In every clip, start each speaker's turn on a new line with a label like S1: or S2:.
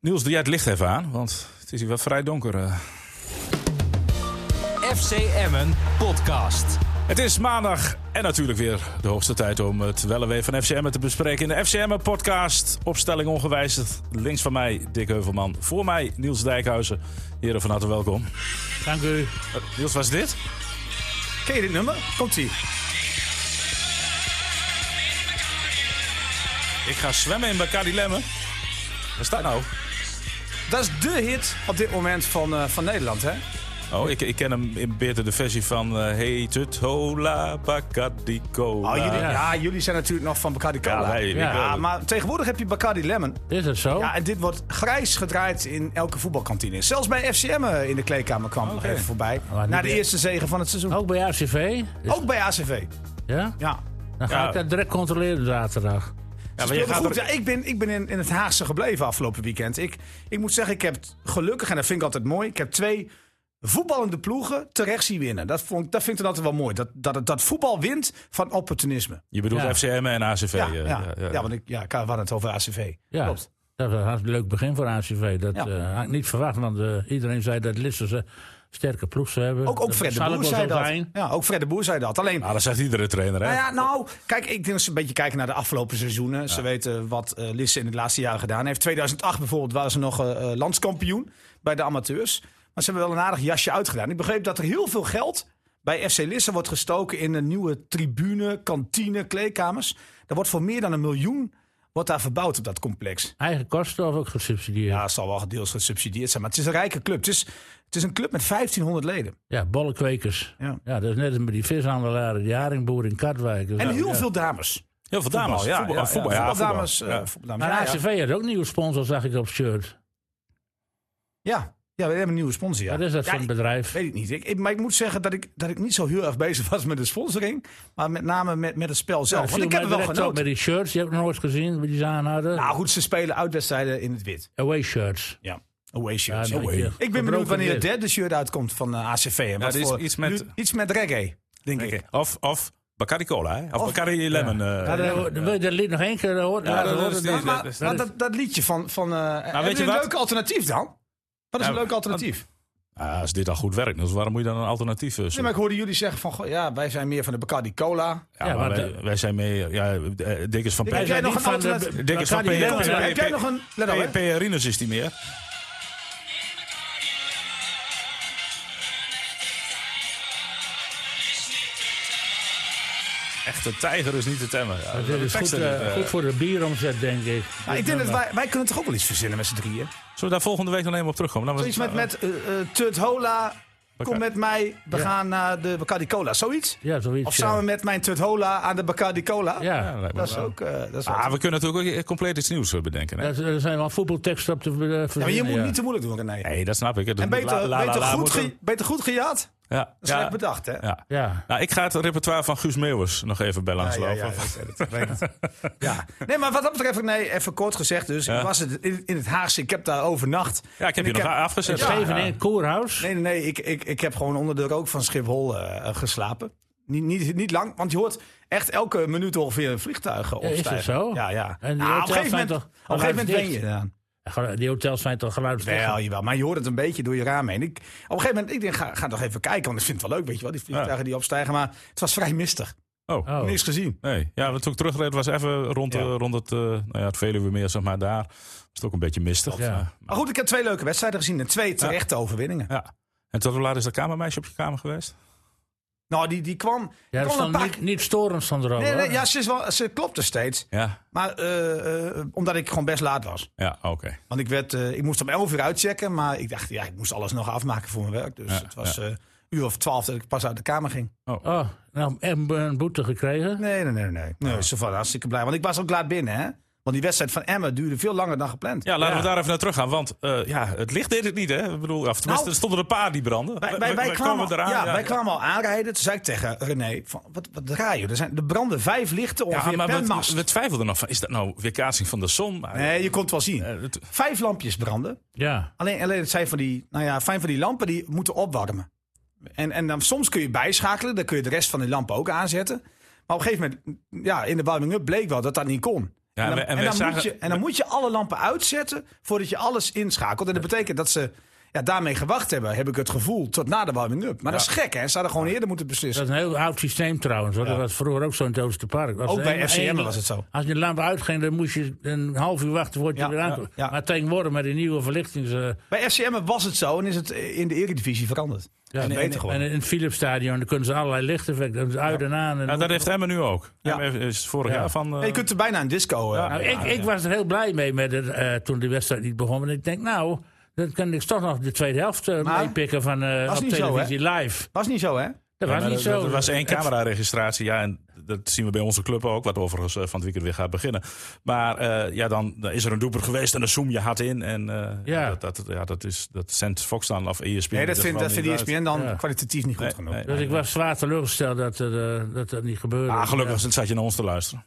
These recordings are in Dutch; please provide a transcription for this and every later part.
S1: Niels, doe jij het licht even aan, want het is hier wel vrij donker. eh.
S2: FC Emmen podcast.
S1: Het is maandag en natuurlijk weer de hoogste tijd om het wel en wee van FCM te bespreken in de FCM podcast. Opstelling ongewijzigd. Links van mij Dick Heuvelman, voor mij Niels Dijkhuizen. Heren van harte welkom.
S3: Dank u.
S1: Eh, Niels, was dit?
S4: Ken je dit nummer? Komt ie.
S1: Ik ga zwemmen in Bacardi Lemmen. Wat is dat nou?
S4: Dat is de hit op dit moment van, eh, van Nederland, hè?
S1: Oh, ik, ik ken hem in beter de versie van eh, Heet het hola Bacardi Cola.
S4: Oh, jullie, ja. jullie zijn natuurlijk nog van Bacardi Cola.
S1: Ah, Ja, wij-
S3: Ja,
S1: ik eh, wel.
S4: Ja, maar tegenwoordig heb je Bacardi Lemon.
S3: Is het zo?
S4: Ja, en dit wordt grijs gedraaid in elke voetbalkantine. Zelfs bij FCM eh, in de kleedkamer kwam nog
S1: Oké.
S4: even voorbij.
S3: Maar niet
S4: Na de
S3: bij-
S4: eerste zege van het seizoen.
S3: Ook bij ACV?
S4: Ook bij ACV.
S3: Ja?
S4: Ja.
S3: Dan ga
S1: Ja.
S3: ik dat direct controleren zaterdag.
S1: Ja, maar je
S4: Speelde
S1: gaat
S4: goed.
S1: er-
S4: Ja, ik ben, ik ben in, in het Haagse gebleven afgelopen weekend. Ik, ik moet zeggen, ik heb t- gelukkig, en dat vind ik altijd mooi, ik heb twee voetballende ploegen terecht zien winnen. Dat, vond, dat vind ik dan altijd wel mooi. Dat, dat, het- dat voetbal wint van opportunisme.
S1: Je bedoelt
S3: Ja.
S1: FCM en ACV.
S4: Ja,
S1: eh,
S4: ja, ja, want ik, ja, ik had het over ACV.
S3: Ja.
S4: Klopt.
S3: Dat was een hartstikke leuk begin voor ACV. Dat
S4: Ja.
S3: eh, had ik niet verwacht, want eh, iedereen zei dat Lissers eh, sterke ploeg zou hebben.
S4: Ook, ook
S3: Dat
S4: Fred de
S3: zal
S4: Boer
S3: ook wel
S4: zei
S3: zo
S4: dat.
S3: zijn. Nou,
S4: Ja, ook Fred de Boer zei dat. Alleen,
S1: Ah, dat zegt iedere trainer, hè?
S4: nou ja, nou, kijk, ik denk dat ze een beetje kijken naar de afgelopen seizoenen. Ze weten wat eh Lisse in het laatste jaar gedaan heeft. 2008 bijvoorbeeld waren ze nog eh, eh, landskampioen bij de amateurs. Maar ze hebben wel een aardig jasje uitgedaan. Ik begreep dat er heel veel geld bij FC Lisse wordt gestoken in een nieuwe tribune, kantine, kleedkamers. Er wordt voor meer dan een miljoen wordt daar verbouwd op dat complex.
S3: Eigen kosten of ook gesubsidieerd?
S4: Ja,
S3: Ja,
S4: het zal wel deels gesubsidieerd zijn. Maar het is een rijke club. Het is, het is een club met 1500 leden.
S3: bollenkwekers.
S4: Ja.
S3: Ja, dat is net als met die vishandelaren, die haringboer in Katwijk.
S4: En heel
S3: ja.
S4: veel dames.
S1: Heel veel dames.
S4: Voetbal,
S1: Voetbal- ah,
S4: ja, ja, ja.
S1: voetbal, ja,
S4: Voetbaldames,
S1: voetbal.
S4: eh, voetbaldames.
S3: Maar
S4: Ja, ja.
S3: ACV had ook nieuwe sponsor, zag ik op het shirt.
S4: Ja. ja, we hebben een nieuwe sponsor. Ja.
S3: Wat is dat
S4: Ja,
S3: voor een
S4: ik
S3: bedrijf?
S4: Weet ik niet. Ik, ik- maar ik moet zeggen dat ik, dat ik niet zo heel erg bezig was met de sponsoring. Maar met name met, met het spel zelf.
S3: Dat
S4: Want
S3: viel
S4: ik heb er
S3: mij
S4: wel
S3: direct op
S4: genoten.
S3: Met die shirts, die heb ik nog nooit gezien, die ze aan hadden.
S4: Nou goed, ze spelen uitwedstrijden in het wit.
S3: Away shirts.
S4: Ja. Away
S1: Ah,
S4: shirts.
S3: Ja, nou,
S4: Away.
S3: ja.
S4: Ik ben benieuwd
S3: Gebroken
S4: wanneer het
S3: wit.
S4: derde shirt uitkomt van eh, ACV. En wat
S1: er is
S4: voor-
S1: iets met-
S4: nu- iets met reggae, denk ik.
S1: Of, of Bacardi Cola, hè? Of,
S4: Of-
S1: Bacardi Lemon. eh.
S3: Ja, nou, dan- dan wil je dat lied nog één keer horen?
S1: Ja,
S3: laten
S1: dat
S3: horen?
S1: is-
S3: Dan-
S1: dat-
S4: Maar,
S1: is-
S4: maar dat, dat liedje van... van eh hebben
S1: weet je
S4: jullie een
S1: wat? Nou,
S4: leuk alternatief dan? Wat is
S1: Ja,
S4: een leuk alternatief?
S1: Ah, als dit al goed werkt, dus waarom moet je dan een alternatief eh,
S4: Nee,
S1: zoeken?
S4: maar ik hoorde jullie zeggen van... goh, ja, wij zijn meer van de Bacardi Cola.
S1: Ja,
S3: Ja,
S1: maar
S3: want,
S1: wij, wij zijn meer... Ja, eh, Dikkers van...
S4: Ik
S1: P-
S4: heb jij nog
S3: niet
S4: een
S3: van de-
S4: alternatief?
S3: dat
S1: Dikkers
S3: kan
S1: van P-
S3: niet.
S1: P-
S4: er,
S3: Komt
S1: P-
S4: heb
S1: P-
S4: jij nog een- let op, nou, hè.
S1: P- P.Rinus is die meer. Echte tijger is niet te temmen. Ja,
S3: Dit is goed, eh, goed voor de bieromzet, denk ik.
S4: Maar Ah, ik denk
S3: Dit
S4: dat
S3: nummer.
S4: wij, wij kunnen toch ook wel iets verzinnen met z'n drieën?
S1: Zullen we daar volgende week nog even op terugkomen? Dan was-
S4: Zoiets met, met eh, eh, Tut Hola, kom met mij, we gaan naar de Bacardi Cola. Zoiets?
S3: Ja, zoiets.
S4: Of
S3: ja.
S4: samen met mijn Tut Hola aan de Bacardi Cola?
S3: Ja,
S1: Ja, lijkt me
S4: Dat is
S1: wel.
S4: ook... eh, dat is wel-
S1: Ah, we kunnen natuurlijk ook compleet iets nieuws eh, bedenken. Hè?
S3: Dat- Er zijn wel voetbalteksten op te eh,
S4: Ja, maar
S3: verzinnen.
S4: je moet
S3: ja.
S4: niet te moeilijk doen, René.
S1: Nee, dat snap ik. Dat
S4: En
S1: moet la- la-
S4: beter,
S1: la-
S4: beter,
S1: la-
S4: goed,
S1: moet
S4: ge-
S1: een-
S4: beter goed gejaagd,
S1: Ja,
S4: slecht
S1: ja,
S4: bedacht, hè?
S1: ja.
S3: Ja.
S1: Nou, ik ga het repertoire van Guus Meeuwers nog even bij langs
S4: Ah, ja,
S1: lopen.
S4: ja, dat weet ik. ja. Nee, maar wat dat betreft, nee, even kort gezegd. Dus
S1: Ja.
S4: ik was het in, in het Haagse. Ik heb daar overnacht.
S1: Ja, ik heb
S4: En
S1: je nog
S4: heb-
S1: afgezet.
S4: Ja.
S3: Steven in Koerhuis.
S4: Nee, nee, nee. Ik, ik, ik heb gewoon onder de rook van Schiphol eh, eh, geslapen. Niet, niet, niet lang, want je hoort echt elke minuut ongeveer een vliegtuig eh,
S3: Ja, is
S4: opstijgen.
S3: het zo?
S4: Ja, ja.
S3: En die
S4: Nou, op
S3: hotels
S4: een gegeven
S3: zijn
S4: moment,
S3: toch
S4: op een gegeven moment ben je
S3: geluidsdicht?
S4: eraan.
S3: Gewoon, Die hotels zijn toch geluidsdicht?
S4: Wel, jawel, maar je hoort het een beetje door je raam heen. Ik, op een gegeven moment, ik denk, ga, ga toch even kijken, want ik vind het wel leuk, weet je wel, die vliegtuigen die opstijgen. Maar het was vrij mistig.
S1: Oh,
S3: Oh.
S4: Niks gezien.
S1: nee. Ja, want toen ik terugreed was even rond,
S4: Ja.
S1: eh, rond het, eh nou ja, het Veluwemeer, zeg maar, daar. Was het ook een beetje mistig. Eh,
S3: Ja.
S1: Ja.
S4: Maar goed, ik heb twee leuke wedstrijden gezien en twee terechte overwinningen.
S1: ja. En tot hoe laat is dat kamermeisje op je kamer geweest?
S4: Nou, die, die kwam.
S3: Ja,
S4: die
S3: dat
S4: kwam een
S3: stond
S4: paar...
S3: niet, niet storend stond erop.
S4: Nee, nee,
S3: hoor.
S4: ja, ze, is wel, ze klopte steeds.
S1: Ja,
S4: Maar eh, eh, omdat ik gewoon best laat was.
S1: ja oké.
S4: Want ik, werd, eh, ik moest om 11 uur uitchecken. Maar ik dacht, ja, ik moest alles nog afmaken voor mijn werk. Dus
S1: Ja,
S4: het was eh, een uur of twaalf dat ik pas uit de kamer ging.
S3: Oh, nou, echt een boete gekregen.
S4: Nee, nee, nee, nee. Nee, ze was hartstikke blij. Want ik was ook laat binnen, hè? Want die wedstrijd van Emmen duurde veel langer dan gepland.
S1: Ja, laten we
S3: Ja.
S1: daar even naar terug gaan. Want eh, ja, het licht deed het niet, hè? Ik bedoel, of, tenminste,
S4: Nou,
S1: er stonden een paar die branden.
S4: Wij,
S1: We-
S4: wij,
S1: we-
S4: wij
S1: we
S4: kwamen,
S1: kwamen eraan.
S4: ja, wij kwamen al aanrijden. Toen zei ik tegen René, van, wat, wat draai je? Er, zijn, er branden vijf lichten
S1: Ja,
S4: ongeveer
S1: maar
S4: per
S1: we,
S4: mast.
S1: we twijfelden nog van, is dat nou weerkaatsing van de zon? Maar,
S4: nee, je kon het wel zien.
S1: eh, het-
S4: Vijf lampjes branden.
S3: Ja.
S4: Alleen, alleen het zijn van die, nou ja, fijn van die lampen die moeten opwarmen. En, en dan, soms kun je bijschakelen, mm, dan kun je de rest van die lampen ook aanzetten. Maar op een gegeven moment, ja, in de warming-up bleek wel dat dat niet kon.
S1: Ja,
S4: en, dan,
S1: we- en
S4: en
S1: we
S4: dan
S1: zagen-
S4: moet je, en dan moet je alle lampen uitzetten voordat je alles inschakelt. En dat betekent dat ze ja, daarmee gewacht hebben, heb ik het gevoel, tot na de warming-up. Maar dat is gek, hè? Ze hadden gewoon eerder moeten
S3: Dat
S4: beslissen.
S3: is een heel oud systeem trouwens. Hoor. Dat was vroeger ook zo in het Oosterpark. Als
S4: Ook
S3: de
S4: bij
S3: ene-
S4: FCM
S3: ene-
S4: was het zo.
S3: Als je de lamp uitging, dan moest je een half uur wachten voordat
S4: Ja,
S3: je weer
S4: ja,
S3: aankwam.
S4: ja.
S3: Maar tegenwoordig met die nieuwe verlichtings... eh,
S4: Bij FCM was het zo en is het eh, in de Eredivisie veranderd.
S3: ja,
S4: en, beter
S3: en,
S4: gewoon.
S3: in het Philips Stadion dan kunnen ze allerlei lichteffecten. dus Uit en aan. En
S1: Ja, eh, dat heeft Emmen nu ook.
S4: Ja.
S1: Emmen is vorig
S3: Ja.
S1: jaar van... eh,
S4: Ja, je kunt er bijna een disco... eh,
S1: Ja.
S3: Nou, ik, ik was er heel blij mee met het, eh, toen de wedstrijd niet begon. En ik denk, nou, dan kan ik toch nog de tweede helft eh,
S4: Maar-
S3: meepikken van eh,
S4: Was
S3: op
S4: niet zo,
S3: televisie live.
S4: Was niet zo, hè?
S3: Dat
S1: ja,
S3: was
S1: maar
S3: niet
S1: dat-
S3: zo.
S1: dat was één
S3: Het-
S1: cameraregistratie. Ja, en dat zien we bij onze club ook. Wat overigens eh, van het weekend weer gaat beginnen. Maar eh, ja, dan, dan is er een doeper geweest en dan zoom je hard in. En eh,
S3: Ja.
S1: Dat, dat, ja, dat, is, dat cent Fox dan of E ESPN.
S4: Nee, dat
S1: is
S4: vindt E
S1: wel
S4: dat
S1: niet
S4: vindt ESPN dan
S3: Ja.
S4: kwalitatief niet goed
S1: Nee,
S4: genoeg.
S1: nee.
S3: Dus ik was zwaar teleurgesteld dat er, eh, dat, dat niet gebeurde.
S1: Ah, gelukkig
S3: Ja.
S1: zat je naar ons te luisteren.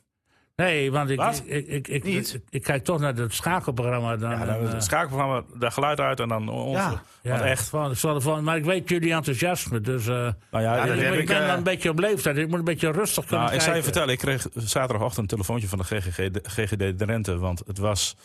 S3: Nee, want ik,
S1: Wat?
S3: ik, ik, ik,
S4: Niet?
S3: ik, ik kijk toch naar dat schakelprogramma. Dan,
S1: Ja, dan
S3: en, eh,
S1: het schakelprogramma, daar geluid uit en dan ons.
S4: Ja.
S1: Want echt,
S3: van- ik zal ervan- maar ik weet jullie enthousiasme, dus eh,
S1: nou ja,
S4: Ja, dat
S1: ik-
S3: ik,
S4: heb
S3: ben-
S1: ik-
S3: ik ben
S4: eh,
S3: dan een beetje op leeftijd. Ik moet een beetje rustig kunnen
S1: Nou, ik zou je
S3: kijken.
S1: vertellen, ik kreeg zaterdagochtend een telefoontje van de GGG, de- GGD Drenthe. Want het was.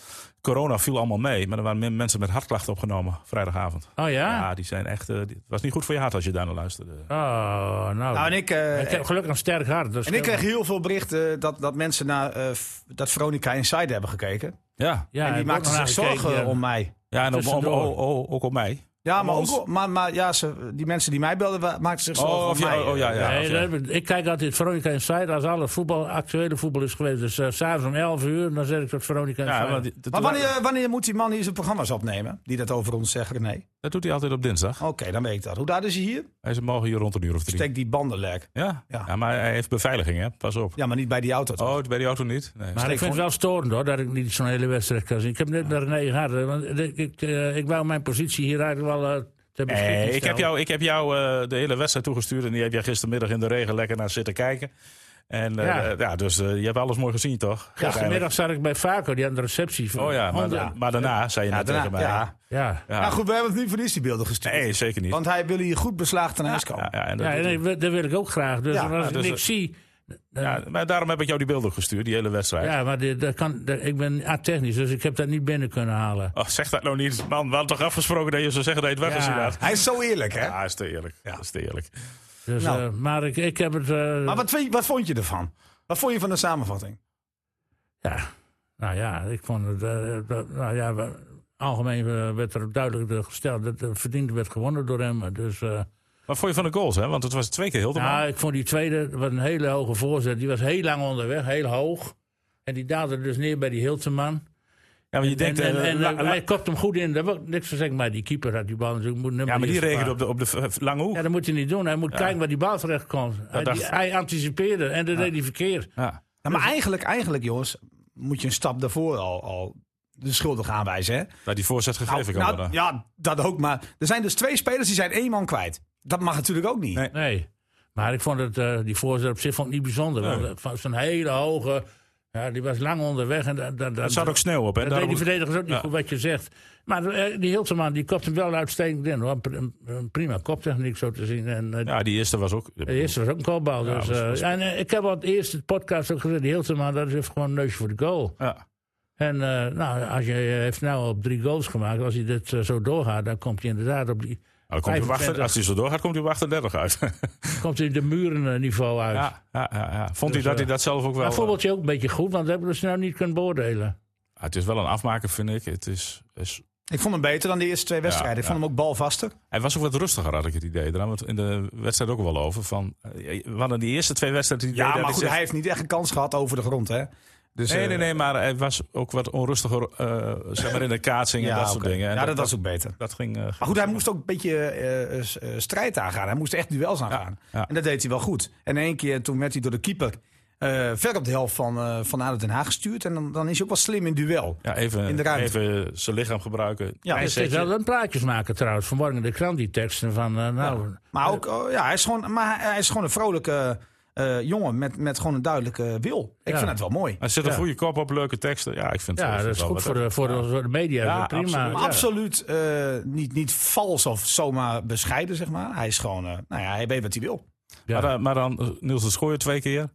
S1: Corona viel allemaal mee, maar er waren min- mensen met hartklachten opgenomen vrijdagavond.
S3: Oh ja?
S1: Ja, die zijn echt. eh, die- het was niet goed voor je hart als je daar naar luisterde.
S3: Oh, nou.
S4: Nou, en ik, eh,
S3: ik heb gelukkig een sterk hart. dus-
S4: en ik kreeg heel veel berichten dat, dat mensen naar eh, f- dat Veronica Inside hebben gekeken.
S1: Ja,
S3: ja,
S4: en
S3: ik
S4: die
S3: heb
S4: maakten
S3: ook nog
S4: zich
S3: naar
S4: zorgen
S3: gekeken, ja.
S4: om mij.
S1: ja en op, om-
S3: Tussendoor.
S1: oh, oh, ook op mij.
S4: Ja, maar,
S1: Maar
S4: ook,
S1: ons-
S4: wel- maar, maar ja, ze, die mensen die mij belden wa- maakten zich zorgen
S1: Oh,
S4: om
S1: of ja,
S4: mij.
S1: oh, ja, ja.
S3: Nee,
S1: of
S3: dat heb ik- ik kijk altijd Veronica Inside als alle voetbal, actuele voetbal is geweest. Dus eh, s s'avonds om 11 uur, dan zet ik dat Veronica Inside.
S1: Ja, want die- dat,
S4: Maar
S1: doet-
S4: wanneer, wanneer moet die man hier zijn programma's opnemen? Die dat over ons zeggen? Nee.
S1: dat doet hij altijd op dinsdag.
S4: Oké, dan weet ik dat. Hoe laat is hij hier?
S1: Hij is morgen hier rond een uur of drie.
S4: Steek die banden lek.
S1: Ja?
S4: Ja.
S1: Ja. maar hij heeft beveiliging, hè? Pas op.
S4: Ja, maar niet bij die auto. toch?
S1: Oh, bij die auto niet? Nee.
S3: maar ik vind het wel storend hoor, dat ik niet zo'n hele wedstrijd kan zien. Ik heb net naar René gehad, hè, want ik, ik, eh, ik wou mijn positie hier eigenlijk wel eh ter beschikking
S1: Nee, ik
S3: stellen.
S1: heb jou, ik heb jou eh, de hele wedstrijd toegestuurd. En die heb jij gistermiddag in de regen lekker naar zitten kijken. En eh,
S3: Ja.
S1: ja. dus eh, je hebt alles mooi gezien, toch? Uiteindelijk.
S3: Gistermiddag zat ik bij Vaco, die aan de receptie. van-
S1: Oh ja, maar,
S3: onder-
S1: maar daarna zei je
S4: ja,
S1: net
S4: daarna,
S1: tegen mij.
S4: ja.
S3: ja.
S1: Ja.
S4: Nou goed, we hebben het niet voor niets die beelden gestuurd.
S1: Nee, zeker niet.
S4: Want hij wil hier goed beslaagd ten huis komen.
S1: ja, ja, en dat
S3: Ja,
S1: doet
S3: nee, we- dat wil ik ook graag. Dus
S4: Ja,
S3: als
S1: ja,
S3: ik
S1: dus,
S3: niks zie... dan-
S1: hij. Ja, maar daarom heb ik jou die beelden gestuurd, die hele wedstrijd.
S3: ja, maar dit- dat kan, dat- ik ben atechnisch, dus ik heb dat niet binnen kunnen halen.
S1: Och, zeg dat nou niet. Man, we hadden toch afgesproken dat je zou zeggen dat je het weggezien
S3: Ja.
S1: had.
S4: Hij is zo eerlijk, hè?
S1: Ja, dat is te eerlijk. Dat is te eerlijk.
S3: Dus,
S4: Nou.
S3: eh, maar ik, ik heb het... eh,
S4: Maar wat, vind je- wat vond je ervan? Wat vond je van de samenvatting?
S3: Ja, nou ja, ik vond het. eh, dat- nou ja, we- algemeen eh, werd er duidelijk eh, gesteld dat er verdiend werd gewonnen door hem. Dus, eh,
S1: Wat vond je van de goals, hè? Want het was twee keer heel
S3: nou, ik vond die tweede, wat een hele hoge voorzet. Die was heel lang onderweg, heel hoog. En die daalde dus neer bij die Hilteman.
S1: Ja, maar je
S3: En,
S1: denkt...
S3: en,
S1: eh,
S3: en,
S1: la-
S3: eh,
S1: la-
S3: hij kopt hem goed in. Daar wil ik niks van zeggen, maar die keeper had die bal natuurlijk. Moet
S1: ja, maar die rekende op de, op de v- lange hoek.
S3: Ja, dat moet hij niet doen. Hij moet kijken waar die bal terecht komt. Hij,
S1: dacht-
S3: die- hij anticipeerde en dat deed hij verkeerd.
S1: Ja.
S4: Nou, maar eigenlijk, eigenlijk, jongens, moet je een stap daarvoor al, al de schuldig aanwijzen. Hè?
S1: Nou, die voorzet gegeven kan
S4: nou,
S1: worden.
S4: ja, dat ook. Maar er zijn dus twee spelers die zijn één man kwijt. Dat mag natuurlijk ook niet.
S1: Nee.
S3: Nee. Maar ik vond het, eh, die voorzet op zich vond ik niet bijzonder.
S1: Nee.
S3: Want het was een hele hoge. Ja, die was lang onderweg. En dat, dat,
S1: Er
S3: dat,
S1: zat ook sneeuw op, hè?
S3: dat deed
S1: Daarom-
S3: die verdedigers ook niet
S1: Ja.
S3: goed wat je zegt. Maar eh, die Hilteman die kopt hem wel uitstekend in. Hoor. Een pr- een- een Prima koptechniek zo te zien. En, eh,
S1: Ja, die eerste was ook...
S3: De eerste was ook een kopbal.
S1: Ja,
S3: dus,
S1: was-
S3: eh,
S1: was-
S3: en eh, ik heb al het eerste podcast ook gezegd. Die Hilteman dat is gewoon een neusje voor de goal.
S1: Ja.
S3: En eh, nou, als je eh, heeft nou op drie goals gemaakt. Als hij dit eh, zo doorgaat, dan komt hij inderdaad op die...
S1: Nou, dan komt hij op 38
S3: 25.
S1: als hij zo doorgaat, komt hij op 38 uit.
S3: Komt hij de muren eh, niveau uit.
S1: ja, ja, ja, ja. Vond
S3: Dus, eh,
S1: hij dat hij dat zelf ook wel...
S3: Maar voetbaltje ook een beetje goed, want dat hebben we ze nou niet kunnen beoordelen.
S1: eh, het is wel een afmaker, vind ik. Het is, is
S4: Ik vond hem beter dan de eerste twee wedstrijden. ik vond hem ook balvaster.
S1: Hij was ook wat rustiger, had ik het idee. Daar hadden we het in de wedstrijd ook wel over. Van, eh, we hadden die eerste twee wedstrijden... die
S4: Ja,
S1: deden
S4: maar
S1: dat
S4: goed,
S1: ik
S4: hij
S1: zeg-
S4: heeft niet echt een kans gehad over de grond, hè? Dus,
S1: Nee,
S4: eh,
S1: nee, nee, maar hij was ook wat onrustiger eh, zeg maar in de kaatsing en
S4: Ja,
S1: dat soort
S4: oké.
S1: dingen. En
S4: ja, dat was ook beter.
S1: dat ging... eh,
S4: Maar goed, hij moest ook een beetje eh, eh, s- eh, strijd aangaan. Hij moest echt duels aangaan.
S1: ja.
S4: En dat deed hij wel goed. En één keer toen werd hij door de keeper eh, ver op de helft van, eh van Aden Den Haag gestuurd. En dan, dan is hij ook wel slim in duel.
S1: ja, even,
S4: in de ruimte.
S1: even zijn lichaam gebruiken.
S4: Ja.
S1: Hij
S3: Het
S1: zet
S3: is
S1: je-
S3: wel een plaatjes maken trouwens. Vanmorgen in de krant die teksten van, eh, nou...
S4: Maar, ook, oh, ja, hij, is gewoon, maar hij- hij is gewoon een vrolijke eh, jongen met, met gewoon een duidelijke wil. Ik
S3: Ja.
S4: vind het wel mooi.
S1: Hij zet een
S3: Ja.
S1: goede kop op, leuke teksten. Ja, ik vind ik
S3: Ja,
S1: vind
S3: dat is
S1: wel
S3: goed
S1: wat-
S3: voor de, voor de, voor de media.
S1: Ja,
S3: Ja, prima.
S1: absoluut.
S4: Maar
S3: Ja.
S4: absoluut eh, niet, niet vals of zomaar bescheiden, zeg maar. Hij is gewoon, eh, nou ja, hij weet wat hij wil.
S3: Ja.
S1: Maar, dan- maar dan eh, Niels de Schooier twee keer.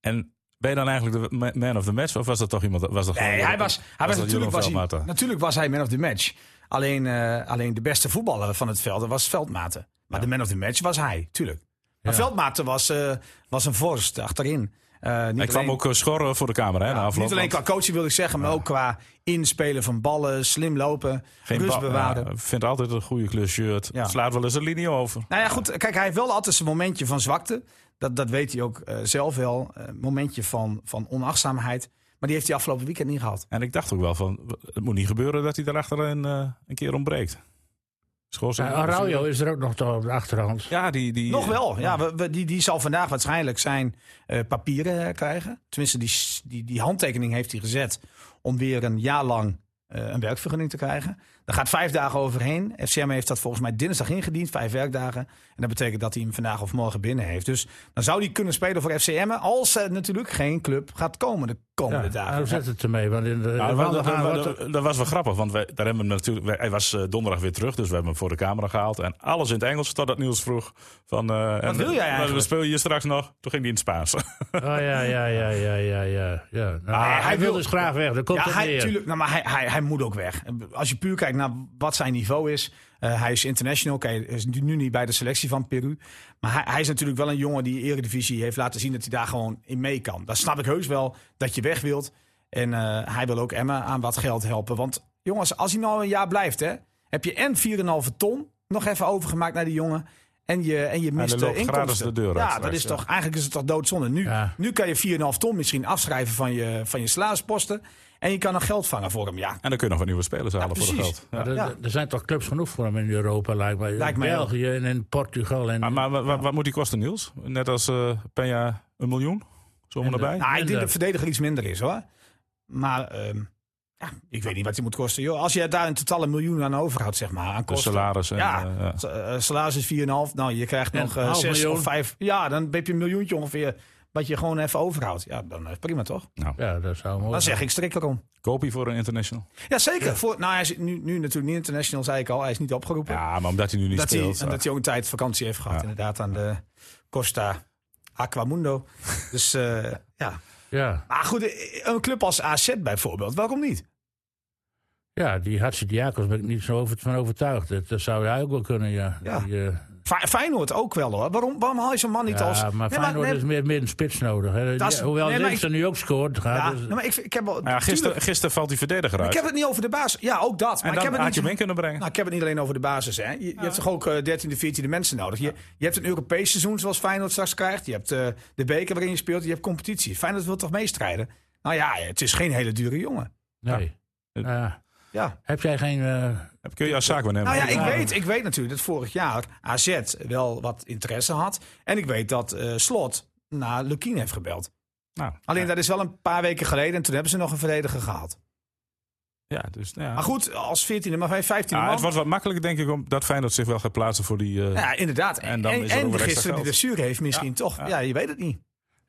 S1: En Ben je dan eigenlijk de ma- man of the match? Of was dat toch iemand? Was dat
S4: Nee,
S1: gewoon-
S4: hij was, hij was,
S1: dat Jeroen
S4: natuurlijk, was hij,
S1: Veldmaten?
S4: natuurlijk was hij man of the match. Alleen, eh, alleen de beste voetballer van het veld dat was Veldmaten. Maar de man of the match was hij, tuurlijk. Maar
S3: Ja.
S4: Veldmaten was, eh, was een vorst achterin. Eh, niet
S1: Hij kwam
S4: alleen-
S1: ook eh, schorren voor de camera hè, na
S4: ja,
S1: afloop.
S4: niet alleen
S1: want
S4: qua coaching wil ik zeggen, maar ook qua inspelen van ballen, slim lopen,
S1: geen
S4: rust
S1: ba-
S4: bewaren.
S1: ja, vindt altijd een goede kleur shirt.
S4: Ja.
S1: Slaat wel eens een linie over.
S4: Nou ja, goed. Kijk, hij heeft wel altijd zijn momentje van zwakte. Dat, dat weet hij ook eh, zelf wel. Eh, momentje van, van onachtzaamheid. Maar die heeft hij afgelopen weekend niet gehad.
S1: En ik dacht ook wel van, het moet niet gebeuren dat hij daarachter een, eh, een keer ontbreekt. Schoorsteen.
S3: Ja, Araujo is er ook nog toch op de achterhand.
S1: Ja, die, die, eh,
S4: Nog wel. Ja, we, we- die, die zal vandaag waarschijnlijk zijn eh, papieren eh, krijgen. Tenminste, die, s- die, die handtekening heeft hij gezet om weer een jaar lang eh, een werkvergunning te krijgen. Daar gaat vijf dagen overheen. FCM heeft dat volgens mij dinsdag ingediend, vijf werkdagen. En dat betekent dat hij hem vandaag of morgen binnen heeft. Dus dan zou hij kunnen spelen voor FCM als er natuurlijk geen club gaat komen de komende
S3: Ja,
S4: dagen.
S3: nou, zet het ermee. Want in de,
S1: Nou,
S3: de
S1: dat, dat-
S3: wandelgangen
S1: dat-
S3: wordt er-
S1: dat- dat was wel grappig, want wij, daar hebben we hem natuurlijk, wij- hij was eh, donderdag weer terug, dus we hebben hem voor de camera gehaald. En alles in het Engels, totdat Niels vroeg van... eh, en,
S4: wil jij
S1: eh,
S4: eigenlijk?
S1: Wat speel je hier straks nog? Toen ging hij in het Spaans.
S3: Oh ja, ja, ja, ja, ja. ja. ja. Nou, hij,
S4: hij
S3: wil
S4: wil-
S3: dus graag weg. Dat komt
S4: Ja,
S3: het
S4: hij,
S3: neer.
S4: tuurlijk, nou, maar hij, hij, hij moet ook weg. Als je puur kijkt naar wat zijn niveau is. eh, hij is international. Oké, hij is nu niet bij de selectie van Peru. Maar hij, hij is natuurlijk wel een jongen die Eredivisie heeft laten zien dat hij daar gewoon in mee kan. Dat snap ik heus wel dat je weg wilt. En eh, hij wil ook Emma aan wat geld helpen. Want jongens, als hij nou een jaar blijft, hè, heb je en 4,5 ton nog even overgemaakt naar die jongen. En je, en je mist
S1: dan
S4: de
S1: loopt
S4: inkomsten.
S1: gratis de deur uit
S4: ja, dat
S1: straks,
S4: is
S1: ja.
S4: toch, eigenlijk is het toch doodzonde. Nu,
S3: Ja.
S4: nu kan je 4,5 ton misschien afschrijven van je, van je salarisposten. En je kan nog geld vangen voor hem. Ja,
S1: en dan kun je nog wat nieuwe spelers halen voor het
S4: precies.
S1: geld. Ja.
S3: Maar er-
S4: Ja.
S3: Er zijn toch clubs genoeg voor hem in Europa, lijkt mij.
S4: Lijkt
S3: in
S4: mij
S3: België en in Portugal. En,
S1: Maar, maar wa- wa- wat moet die kosten, Niels? Net als eh Peña een miljoen? Zomaar
S3: En, eh,
S1: erbij?
S4: nou, ik denk dat
S3: minder.
S4: de verdediger iets minder is hoor. Maar ehm, ja, ik weet niet wat hij moet kosten. Joh, als je daar een totale miljoen aan overhoudt, zeg maar, aan
S1: de
S4: kosten.
S1: salaris. En,
S4: Ja,
S1: eh, ja.
S4: s- eh, salaris is 4,5. Nou, je krijgt
S3: En
S4: nog eh,
S3: half
S4: zes
S3: miljoen.
S4: of vijf. Ja, dan heb je een miljoentje ongeveer. Wat je gewoon even overhoudt. Ja, dan eh, prima toch?
S3: Ja, dat zou mooi
S4: Dan
S3: zijn.
S4: zeg ik strik erom.
S1: Koop je voor een international?
S4: Ja, zeker. Voor, nou, hij is nu, nu natuurlijk niet international, zei ik al. Hij is niet opgeroepen.
S1: Ja, maar omdat hij nu niet
S4: dat,
S1: speelt. ah.
S4: hij, en dat hij ook een tijd vakantie heeft gehad.
S1: Ja.
S4: Inderdaad, aan de Costa Aquamundo. dus eh, ja.
S3: Ja.
S4: Maar goed, eh, een club als AZ bijvoorbeeld, waarom niet?
S3: ja, die Hatsidiakos ben ik niet zo over, van overtuigd. Dat, dat zou hij ook wel kunnen, ja.
S4: Ja.
S3: Die, eh,
S4: Fe- Feyenoord ook wel hoor. Waarom, waarom haal je zo'n man niet
S3: ja,
S4: als...
S3: maar
S4: Nee,
S3: Feyenoord
S4: nee,
S3: is meer, meer een spits nodig. Hè.
S4: Dat is-
S3: Ja, hoewel
S4: nee,
S3: nee,
S4: maar
S3: nu ook scoort. gaat,
S4: Ja,
S3: dus-
S4: nou, maar ik, ik heb wel...
S1: ja, gisteren,
S4: tuurlijk,
S1: gisteren valt die verdediger
S4: ik
S1: uit.
S4: heb het niet over de basis. Ja, ook dat. Maar
S1: en dan
S4: ik heb het
S1: had
S4: niet
S1: je hem in kunnen brengen.
S4: Nou, ik heb het niet alleen over de basis. Hè. Je, je hebt toch ook eh 13e, 14e mensen nodig. Je, je hebt een Europees seizoen zoals Feyenoord straks krijgt. Je hebt eh, de beker waarin je speelt. Je hebt competitie. Feyenoord wil toch meestrijden? Nou ja, het is geen hele dure jongen.
S3: nee.
S1: Ja.
S3: Ja.
S4: Ja.
S3: heb jij geen... eh,
S1: Kun je als zaak nemen?
S4: Nou ja, ik
S3: Ja.
S4: weet, ik weet natuurlijk dat vorig jaar AZ wel wat interesse had. En ik weet dat eh, Slot naar Lukien heeft gebeld.
S1: Nou,
S4: Alleen dat is wel een paar weken geleden. En toen hebben ze nog een verdediger gehaald.
S1: ja, dus, ja.
S4: Maar goed, als 14e, maar 15e
S1: Ja,
S4: man.
S1: het wordt wat makkelijker, denk ik, omdat Feyenoord zich wel gaat plaatsen voor die... eh,
S4: Ja, inderdaad. En,
S1: En dan
S4: en,
S1: is er ook
S4: de
S1: weer extra
S4: gisteren die
S1: geld.
S4: blessure heeft misschien toch. Ja. je weet het niet.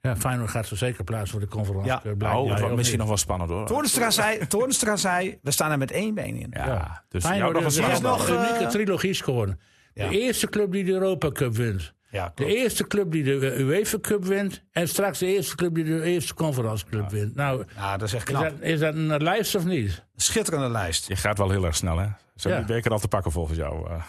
S3: ja, Feyenoord gaat zo zeker plaats voor de conference.
S4: Ja. Oh,
S3: eh, blijkt
S1: nou, het
S3: mij,
S1: wordt
S3: of
S1: misschien nog
S3: niet?
S1: wel spannend, hoor.
S4: Toornstra zei, Toornstra zei, we staan er met één been in.
S1: Ja,
S3: Ja.
S1: dus je houdt
S3: Feyenoord
S1: nog een
S3: is
S1: slag
S4: er
S1: op
S4: is
S3: nog
S1: de
S4: nog,
S3: nog
S1: hand.
S3: een unieke
S4: eh,
S3: trilogie scoren.
S4: Ja.
S3: De eerste club die de Europa Cup wint.
S4: Ja,
S3: De
S4: klopt.
S3: eerste club die de eh, UEFA Cup wint. En straks de eerste club die de eerste Conference Cup wint. Nou,
S4: Ja, dat is echt
S3: is
S4: knap.
S3: dat, is dat een lijst of niet?
S4: Schitterende lijst.
S1: Je gaat wel heel erg snel, hè? Ze hebben
S3: Ja.
S1: die beker al te pakken, volgens jou. eh.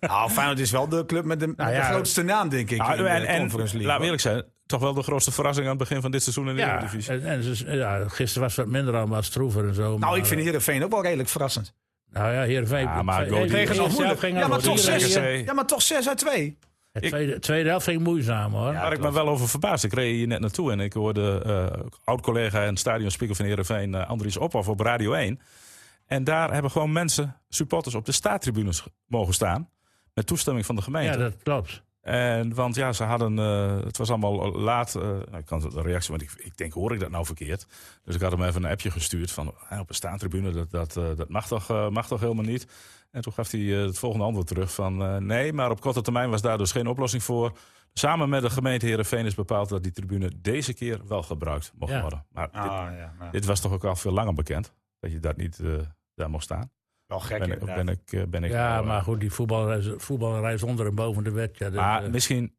S4: Nou, Feyenoord is wel de club met de, met de
S3: ja,
S4: grootste naam, denk ik.
S1: Nou,
S4: in de
S1: en, en
S4: Conference League.
S1: laat me eerlijk zijn, toch wel de grootste verrassing aan het begin van dit seizoen in de
S3: Ja,
S1: Eredivisie.
S3: en, en ze- ja, gisteren was het wat minder allemaal stroever en zo.
S4: Nou,
S3: maar,
S4: ik vind Heerenveen ook wel redelijk verrassend.
S3: eh, Nou ja, Heerenveen...
S1: Ja, maar
S3: eh,
S1: Go-
S3: eh,
S1: die-
S3: eerste
S1: nog
S3: helft
S4: moeilijk.
S3: ging
S4: Ja,
S3: al
S4: maar
S3: goed.
S4: toch
S3: Eerste-
S4: zes.
S1: RKC.
S4: Ja, maar toch 6 uit 2.
S3: Het tweede, tweede helft ging moeizaam, hoor.
S1: Waar ik me wel over verbaasd. Ik reed hier net naartoe en ik hoorde eh, oud-collega en stadionspeaker van Heerenveen eh Andries Ophoff op Radio 1. En daar hebben gewoon mensen, supporters, op de staattribunes ge- mogen staan. Met toestemming van de
S3: Ja,
S1: gemeente.
S3: dat klopt.
S1: en, want ja, ze hadden, eh, het was allemaal laat. eh, nou, ik kan de reactie, want ik, ik denk, hoor ik dat nou verkeerd? Dus ik had hem even een appje gestuurd van eh, op een staantribune, dat, dat, eh, dat mag, toch, eh, mag toch helemaal niet. En toen gaf hij eh, het volgende antwoord terug van eh, nee, maar op korte termijn was daar dus geen oplossing voor. Samen met de gemeente Heerenveen is bepaald dat die tribune deze keer wel gebruikt mocht
S3: Ja.
S1: worden. Maar dit,
S4: Ah, ja,
S1: dit was toch ook al veel langer bekend, dat je dat niet eh, daar mocht staan.
S4: wel gek.
S1: Ben, ik-
S4: inderdaad.
S1: ben ik, eh, ben ik
S3: Ja,
S1: nou, eh,
S3: maar goed, die voetbalreis, voetbalreis onder en boven de wet. Ja, dat,
S1: maar
S3: eh,
S1: misschien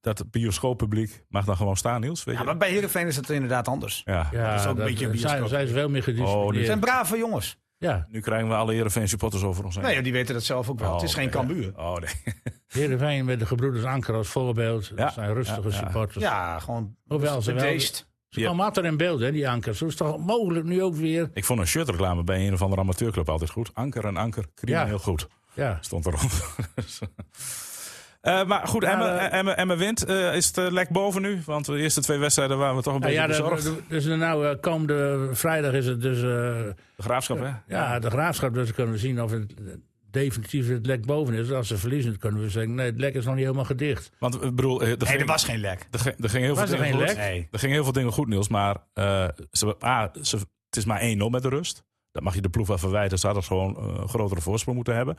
S1: dat bioscooppubliek mag dan gewoon staan, Niels. Weet
S4: Ja,
S1: je?
S4: maar bij Heerenveen is het inderdaad anders.
S1: ja.
S3: Ja, eh,
S4: Dat is ook een beetje een
S3: zijn,
S4: bioscoop.
S3: zijn ze veel meer
S1: Oh, dit-
S4: Het
S3: gedisciplineerd.
S4: zijn brave jongens.
S3: ja,
S1: Nu krijgen we alle Heerenveen supporters over ons heen.
S4: Nou ja, die weten dat zelf ook wel.
S1: Oh,
S4: het is geen
S1: ja.
S4: Cambuur.
S1: Oh nee.
S3: Heerenveen met de gebroeders Anker als voorbeeld.
S1: Ja,
S3: Dat zijn rustige
S1: ja, ja.
S3: supporters.
S4: Ja, gewoon
S3: Hoewel ze wel...
S4: bedeesd.
S3: Ze
S1: Ja.
S3: komen altijd in beeld, hè, die Ankers. Dat is toch mogelijk nu ook weer...
S1: Ik vond een shirtreclame bij een of andere amateurclub altijd goed. Anker en anker, crimineel
S3: Ja.
S1: heel goed.
S3: Ja,
S1: Stond erop. Eh maar goed,
S3: Maar,
S1: Emma,
S3: eh,
S1: Emma, Emma wint. Eh, is het eh, lek boven nu? Want de eerste twee wedstrijden waren we toch een
S3: nou,
S1: beetje
S3: ja
S1: bezorgd.
S3: de, dus nou, eh, komende vrijdag is het dus... eh,
S1: De graafschap, hè?
S3: Ja, de graafschap, dus kunnen we zien of het definitief het lek boven is. Als ze verliezen, dan kunnen we zeggen, nee, het lek is nog niet helemaal gedicht.
S1: Want eh, ik bedoel, eh, er,
S4: Nee,
S1: ging,
S4: er was geen lek.
S1: er, ging- er ging heel
S3: Was
S1: veel
S3: er
S1: dingen
S3: geen
S1: goed.
S3: lek?
S4: Nee.
S1: Er gingen heel veel dingen goed, Niels. Maar eh, ze, A, ze, het is maar 1-0 met de rust. Dat mag je de ploeg wel verwijten. Ze hadden gewoon eh, een grotere voorsprong moeten hebben.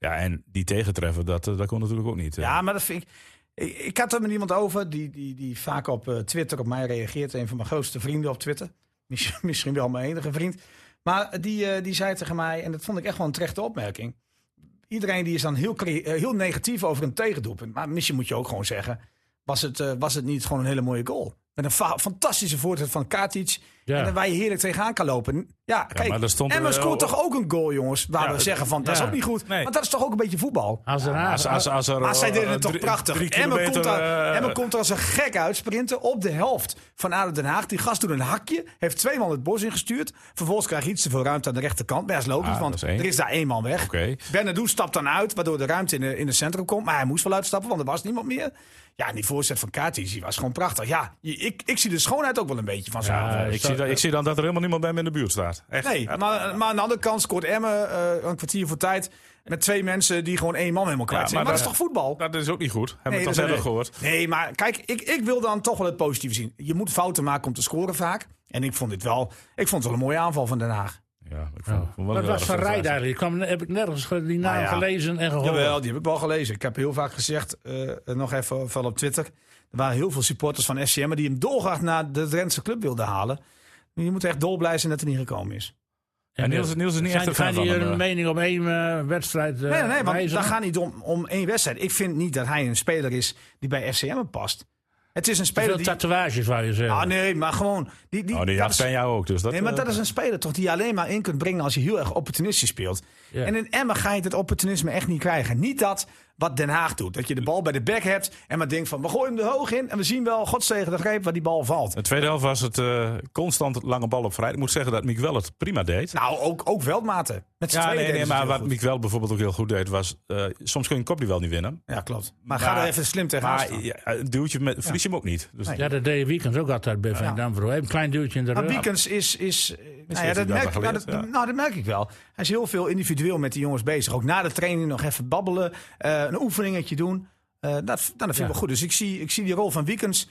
S1: Ja, en die tegentreffen, dat, eh, dat kon natuurlijk ook niet. eh.
S4: Ja, maar dat vind ik... Ik, ik had er met iemand over die, die, die vaak op eh, Twitter op mij reageert. Een van mijn grootste vrienden op Twitter. Misschien, misschien wel mijn enige vriend. Maar die, eh, die zei tegen mij, en dat vond ik echt wel een terechte opmerking. Iedereen die is dan heel, crea- eh, heel negatief over een tegendoelpunt. Maar misschien moet je ook gewoon zeggen... Was het, eh, was het niet gewoon een hele mooie goal? Met een fa- fantastische voorzet van Katic.
S3: Ja.
S4: En dan waar je heerlijk tegenaan kan lopen. Ja, kijk.
S1: maar
S4: en
S1: daar stond
S4: Emma
S1: er, eh,
S4: scoort
S1: ook-
S4: toch ook een goal, jongens? Waar
S1: Ja,
S4: we zeggen van, dat
S3: ja.
S4: is ook niet goed.
S1: Nee.
S4: Want dat is toch ook een beetje voetbal?
S3: Als er
S1: Als, als, als er,
S4: Maar zij deden
S1: eh,
S4: het toch
S1: drie-
S4: prachtig.
S1: drie
S4: Emmen komt,
S1: kilometer,
S4: daar-
S1: eh,
S4: Emmen komt er als een gek uit sprinten op de helft van ADO Den Haag. Die gast doet een hakje, heeft twee man het bos ingestuurd. Vervolgens krijgt hij iets te veel ruimte aan de rechterkant. Maar dat is logisch,
S1: Ah,
S4: want
S1: dat is één.
S4: er is daar één man weg.
S1: Oké.
S4: Bernardo stapt dan uit, waardoor de ruimte in, de, in het centrum komt. Maar hij moest wel uitstappen, want er was niemand meer. Ja, en die voorzet van Katis, die was gewoon prachtig. Ja, je- ik, ik zie de schoonheid ook wel een beetje van zo'n
S1: Ja, ik, zie dan, ik zie dan dat er helemaal niemand bij me in de buurt staat. Echt.
S4: Nee, maar, maar aan de andere kant scoort Emmen eh, een kwartier voor tijd... met twee mensen die gewoon één man helemaal kwijt
S1: Ja,
S4: zijn.
S1: maar
S4: Maar,
S1: dat-
S4: dat is toch voetbal?
S1: Dat is ook niet goed. Hebben we het al
S4: dat-
S1: eerder gehoord.
S4: Nee, maar kijk, ik, ik wil dan toch wel het positieve zien. Je moet fouten maken om te scoren vaak. En ik vond dit wel, ik vond het wel een mooie aanval van Den Haag.
S1: Ja, ik
S4: Oh,
S1: vond, vond wel
S3: dat
S1: een rare
S3: was van Rijd
S1: frustratie.
S3: eigenlijk. Ik kwam, heb ik nergens ge- die naam
S4: Nou ja.
S3: gelezen
S1: Oh.
S3: en gehoord.
S4: Jawel, die heb ik wel gelezen. Ik heb heel vaak gezegd, eh, nog even vooral op Twitter... er waren heel veel supporters van SCM die hem dolgraag naar de Drentse club wilden halen. Je moet echt dolblij zijn dat hij niet gekomen is.
S1: Eh, En Niels- Niels is niet
S3: eh, zijn,
S1: echt een fan
S3: Zijn
S1: van
S3: die
S1: hem,
S3: een
S1: eh.
S3: mening op één eh, wedstrijd eh
S4: Nee, nee, want
S3: wijzigen?
S4: daar gaat niet om, om één wedstrijd. Ik vind niet dat hij een speler is die bij SCM past. Het is een
S3: Te
S4: speler
S3: veel
S4: die...
S3: tatoeages, wou je zeggen.
S4: Ah nee, maar gewoon... Die, die,
S1: Oh, die
S4: dat
S1: jacht
S4: is-
S1: zijn jou ook. Dus dat,
S4: Nee, maar
S1: eh,
S4: dat is een speler toch die je alleen maar in kunt brengen als je heel erg opportunistisch speelt.
S3: Ja.
S4: En in Emmen ga je dat opportunisme echt niet krijgen. Niet dat wat Den Haag doet. Dat je de bal bij de bek hebt en maar denkt van we gooien hem er hoog in en we zien wel godzegen de greep waar die bal valt.
S1: De tweede helft was het eh, constant lange bal op vrij. Ik moet zeggen dat Miek wel het prima deed.
S4: Nou, ook, ook Veldmaten. Met z'n
S1: ja,
S4: tweeën
S1: nee, nee,
S4: deden ze het
S1: maar
S4: heel
S1: wat
S4: goed.
S1: Miek wel bijvoorbeeld ook heel goed deed was... eh, soms kun je een kopduel niet winnen.
S4: Ja, klopt. Maar, ga
S1: Maar-
S4: er even slim tegenaan
S1: Maar
S4: staan.
S1: ja, een duwtje met, verlies je hem ook niet. Dus
S3: ja, dat deed Wiekens ook altijd bij Van Dam. Een klein duwtje in de
S4: Maar
S3: rug.
S4: Beacons is... is eh, nou, ja,
S1: heeft hij
S4: dat merk,
S1: daarvan
S4: nou,
S1: geleerd,
S4: dat,
S1: ja.
S4: nou, dat merk ik wel. Hij is heel veel individueel met die jongens bezig. Ook na de training nog even babbelen, eh, een oefeningetje doen. Eh, dat, nou, dat vind ik
S3: Ja.
S4: wel goed. Dus ik zie, ik zie die rol van Weekends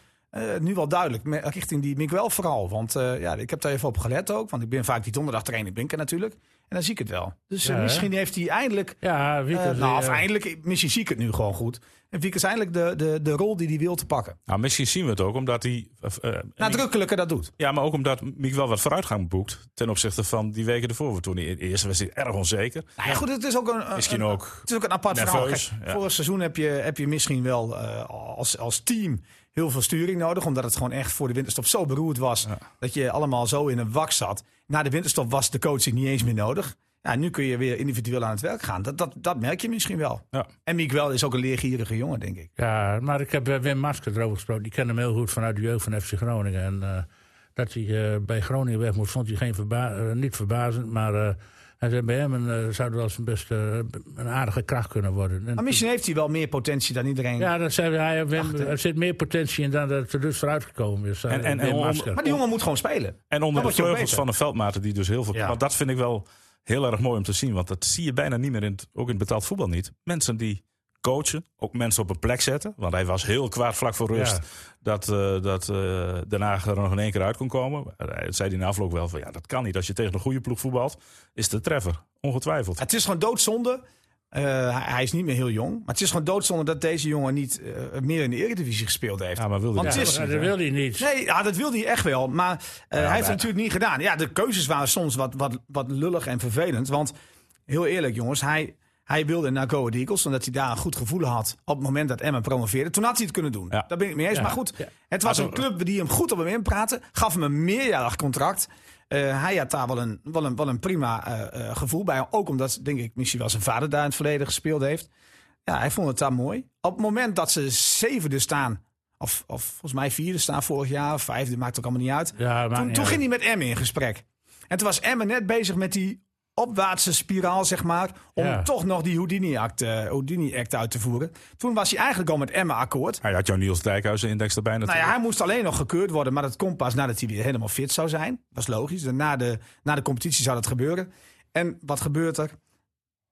S4: nu wel duidelijk. me- Richting die Miguel vooral. Want eh, ja, ik heb daar even op gelet ook. Want ik ben vaak die donderdag trainer Binker natuurlijk. En dan zie ik het wel. Dus eh,
S3: Ja, hè?
S4: misschien heeft hij eindelijk...
S3: Ja,
S4: eh,
S3: Wiekens.
S4: nou,
S3: die,
S4: of
S3: eh,
S4: eindelijk, misschien zie ik het nu gewoon goed. En Wiekens eindelijk de, de, de rol die hij wil te pakken.
S1: Nou, misschien zien we het ook omdat hij... eh, eh,
S4: Nadrukkelijker dat doet.
S1: Ja, maar ook omdat Miek wel wat vooruitgang boekt ten opzichte van die weken ervoor. Toen hij, eerst was hij erg onzeker.
S4: Nou ja, goed, het is ook een, een-
S1: Misschien
S4: een-
S1: ook
S4: Het is ook een apart
S1: nerveus,
S4: verhaal. Kijk,
S1: ja.
S4: Vorig seizoen heb je, heb je misschien wel eh, als, als team heel veel sturing nodig. Omdat het gewoon echt voor de winterstop zo beroerd was. Dat je allemaal zo in een wak zat. Na de winterstop was de coaching niet eens meer nodig. Ja, nu kun je weer individueel aan het werk gaan. Dat, dat, dat merk je misschien wel.
S1: Ja.
S4: En Miguel is ook een leergierige jongen, denk ik.
S3: Ja, maar ik heb eh, Wim Masker erover gesproken. Die kende hem heel goed vanuit de jeugd van FC Groningen. En eh, dat hij eh, bij Groningen weg moest, vond hij geen verba- eh, niet verbazend. Maar eh, hij zei, bij hem een, eh, zou er wel eens een best eh, een aardige kracht kunnen worden. En
S4: Maar misschien heeft hij wel meer potentie dan iedereen.
S3: ja, dat zei hij. Wim, er zit meer potentie in dan dat er dus vooruitgekomen is. eh,
S1: En- en-
S3: Wim
S1: en om-
S3: Masker.
S4: Maar die jongen moet gewoon spelen.
S1: En onder de
S4: Dan word je ook
S1: vleugels
S4: beter.
S1: van een veldmater die dus heel veel...
S4: Ja.
S1: Want dat vind ik wel heel erg mooi om te zien. Want dat zie je bijna niet meer, in het, ook in het betaald voetbal niet. Mensen die coachen, ook mensen op een plek zetten. Want hij was heel kwaad vlak voor rust
S3: Ja.
S1: dat, eh dat eh, Den Haag er nog in één keer uit kon komen. Hij zei die na afloop wel van ja, dat kan niet. Als je tegen een goede ploeg voetbalt, is de treffer. Ongetwijfeld.
S4: Het is gewoon doodzonde. Eh, hij- hij is niet meer heel jong. Maar het is gewoon doodzonde dat deze jongen niet eh, meer in de Eredivisie gespeeld heeft.
S1: Ja, maar wilde
S4: Want
S1: hij
S4: het is-
S1: dat
S3: Ja,
S1: niet,
S3: dat
S1: hè?
S3: wil hij niet.
S4: Nee, ja, dat wilde hij echt wel. Maar eh, hij heeft
S1: maar-
S4: het natuurlijk niet gedaan. Ja, de keuzes waren soms wat, wat, wat lullig en vervelend. Want heel eerlijk, jongens, hij, Hij wilde naar Go Ahead Eagles, omdat hij daar een goed gevoel had op het moment dat Emmen promoveerde. Toen had hij het kunnen doen.
S1: Ja.
S4: Daar ben ik het mee eens.
S3: Ja.
S4: Maar goed,
S3: Ja.
S4: het was
S1: Maar
S4: een club die hem goed op hem inpraatte. Gaf hem een meerjarig contract. Eh, hij had daar wel een, wel een, wel een prima eh, eh, gevoel bij. Ook omdat, denk ik, misschien wel zijn vader daar in het verleden gespeeld heeft. Ja, hij vond het daar mooi. Op het moment dat ze zevende staan, of, of volgens mij vierde staan vorig jaar, of vijfde, maakt ook allemaal niet uit.
S3: Ja, maakt
S4: Toen,
S3: niet
S4: toen
S3: uit.
S4: ging hij met Emmen in gesprek. En toen was Emmen net bezig met die opwaartse spiraal, zeg maar. Om
S3: Ja.
S4: toch nog die Houdini-act eh, Houdini-act uit te voeren. Toen was hij eigenlijk al met Emmen akkoord.
S1: Hij had jouw Niels Dijkhuizen-index erbij
S4: Nou
S1: natuurlijk.
S4: ja, hij moest alleen nog gekeurd worden. Maar dat kon pas nadat hij weer helemaal fit zou zijn. Dat is logisch. Na de, na de competitie zou dat gebeuren. En wat gebeurt er?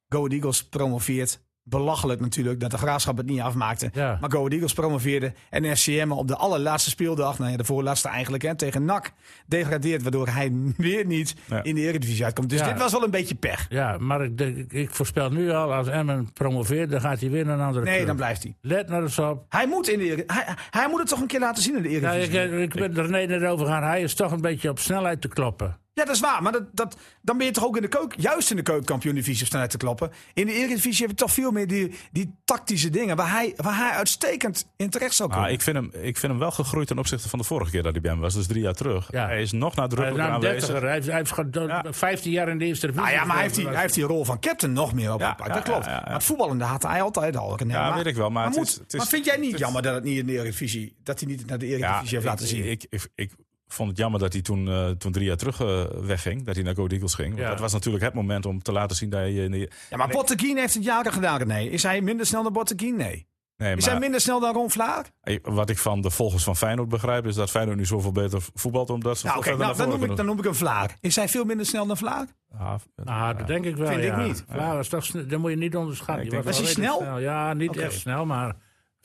S4: Go Ahead Eagles promoveert. Belachelijk natuurlijk dat de Graafschap het niet afmaakte.
S3: Ja.
S4: Maar Go Ahead Eagles promoveerde. En FCM op de allerlaatste speeldag, nou ja, de voorlaatste eigenlijk, hè, tegen NAC degradeert. Waardoor hij weer niet
S1: Ja.
S4: in de Eredivisie uitkomt. Dus
S3: Ja.
S4: dit was wel een beetje pech.
S3: Ja, maar ik, denk- ik, ik voorspel nu al, als Emmen promoveert, dan gaat hij weer naar een andere
S4: Nee,
S3: club.
S4: dan blijft hij.
S3: Let naar eens op.
S4: Hij moet, in de, Eredi- hij, hij moet het toch een keer laten zien in de
S3: Ja,
S4: Eredivisie.
S3: ik, ik ben er net over gaan. Hij is toch een beetje op snelheid te kloppen.
S4: Ja, dat is waar. Maar dat, dat, dan ben je toch ook in de keuken, juist in de keukenkampioen-divisie op snelheid te klappen. In de Eredivisie heb je toch veel meer die, die tactische dingen waar hij, waar hij uitstekend in terecht zou komen.
S1: Maar Ah, ik vind, hem, ik vind hem wel gegroeid ten opzichte van de vorige keer dat hij bij hem was. Dus drie jaar terug.
S3: Ja.
S1: Hij is nog
S3: Hij is
S1: nadrukkelijker
S3: nou een
S1: aanwezig.
S3: dertiger. Hij heeft, hij heeft gewoon
S1: Ja.
S3: 15 jaar in de eerste divisie.
S4: nou ja, maar hij heeft, die,
S3: gezeten.
S4: hij heeft die rol van captain nog meer op.
S1: Ja,
S4: gepakt.
S1: ja,
S4: dat klopt.
S1: ja, ja, ja.
S4: Maar het voetballende had hij altijd al. René.
S1: Ja, weet ik wel, maar het
S4: moet-
S1: is- het is-
S4: maar vind jij niet
S1: het-
S4: jammer dat, het niet in de Eredivisie, dat hij niet naar de Eredivisie heeft
S1: ik-
S4: laten zien?
S1: Ik, ik, ik vond het jammer dat hij toen, eh, toen drie jaar terug eh, wegging. Dat hij naar Go Eagles ging. Want
S3: Ja.
S1: dat was natuurlijk het moment om te laten zien dat je... in de-
S4: ja, maar Botteguin heeft het jaren gedaan, René. Is hij minder snel dan Botteguin? Nee.
S1: Nee,
S4: Is
S1: maar
S4: hij minder snel dan Ron Vlaar?
S1: ik- wat ik van de volgers van Feyenoord begrijp... is dat Feyenoord nu zoveel beter voetbalt... omdat ze
S4: Nou,
S1: veel
S4: oké,
S1: verder naar
S4: nou, dan,
S1: voren
S4: noem ik, dan noem ik hem Vlaar. Is hij veel minder snel dan Vlaar?
S1: kunnen. Ja,
S3: Nou, dat denk ik wel.
S4: Vind ik
S3: ja.
S4: niet.
S3: Vlaar was toch, sne- dat moet je niet onderschatten.
S1: Ik
S3: Die
S1: denk-
S4: Was
S3: wel
S4: hij
S3: redelijk
S4: snel?
S3: Ja, niet echt snel, maar.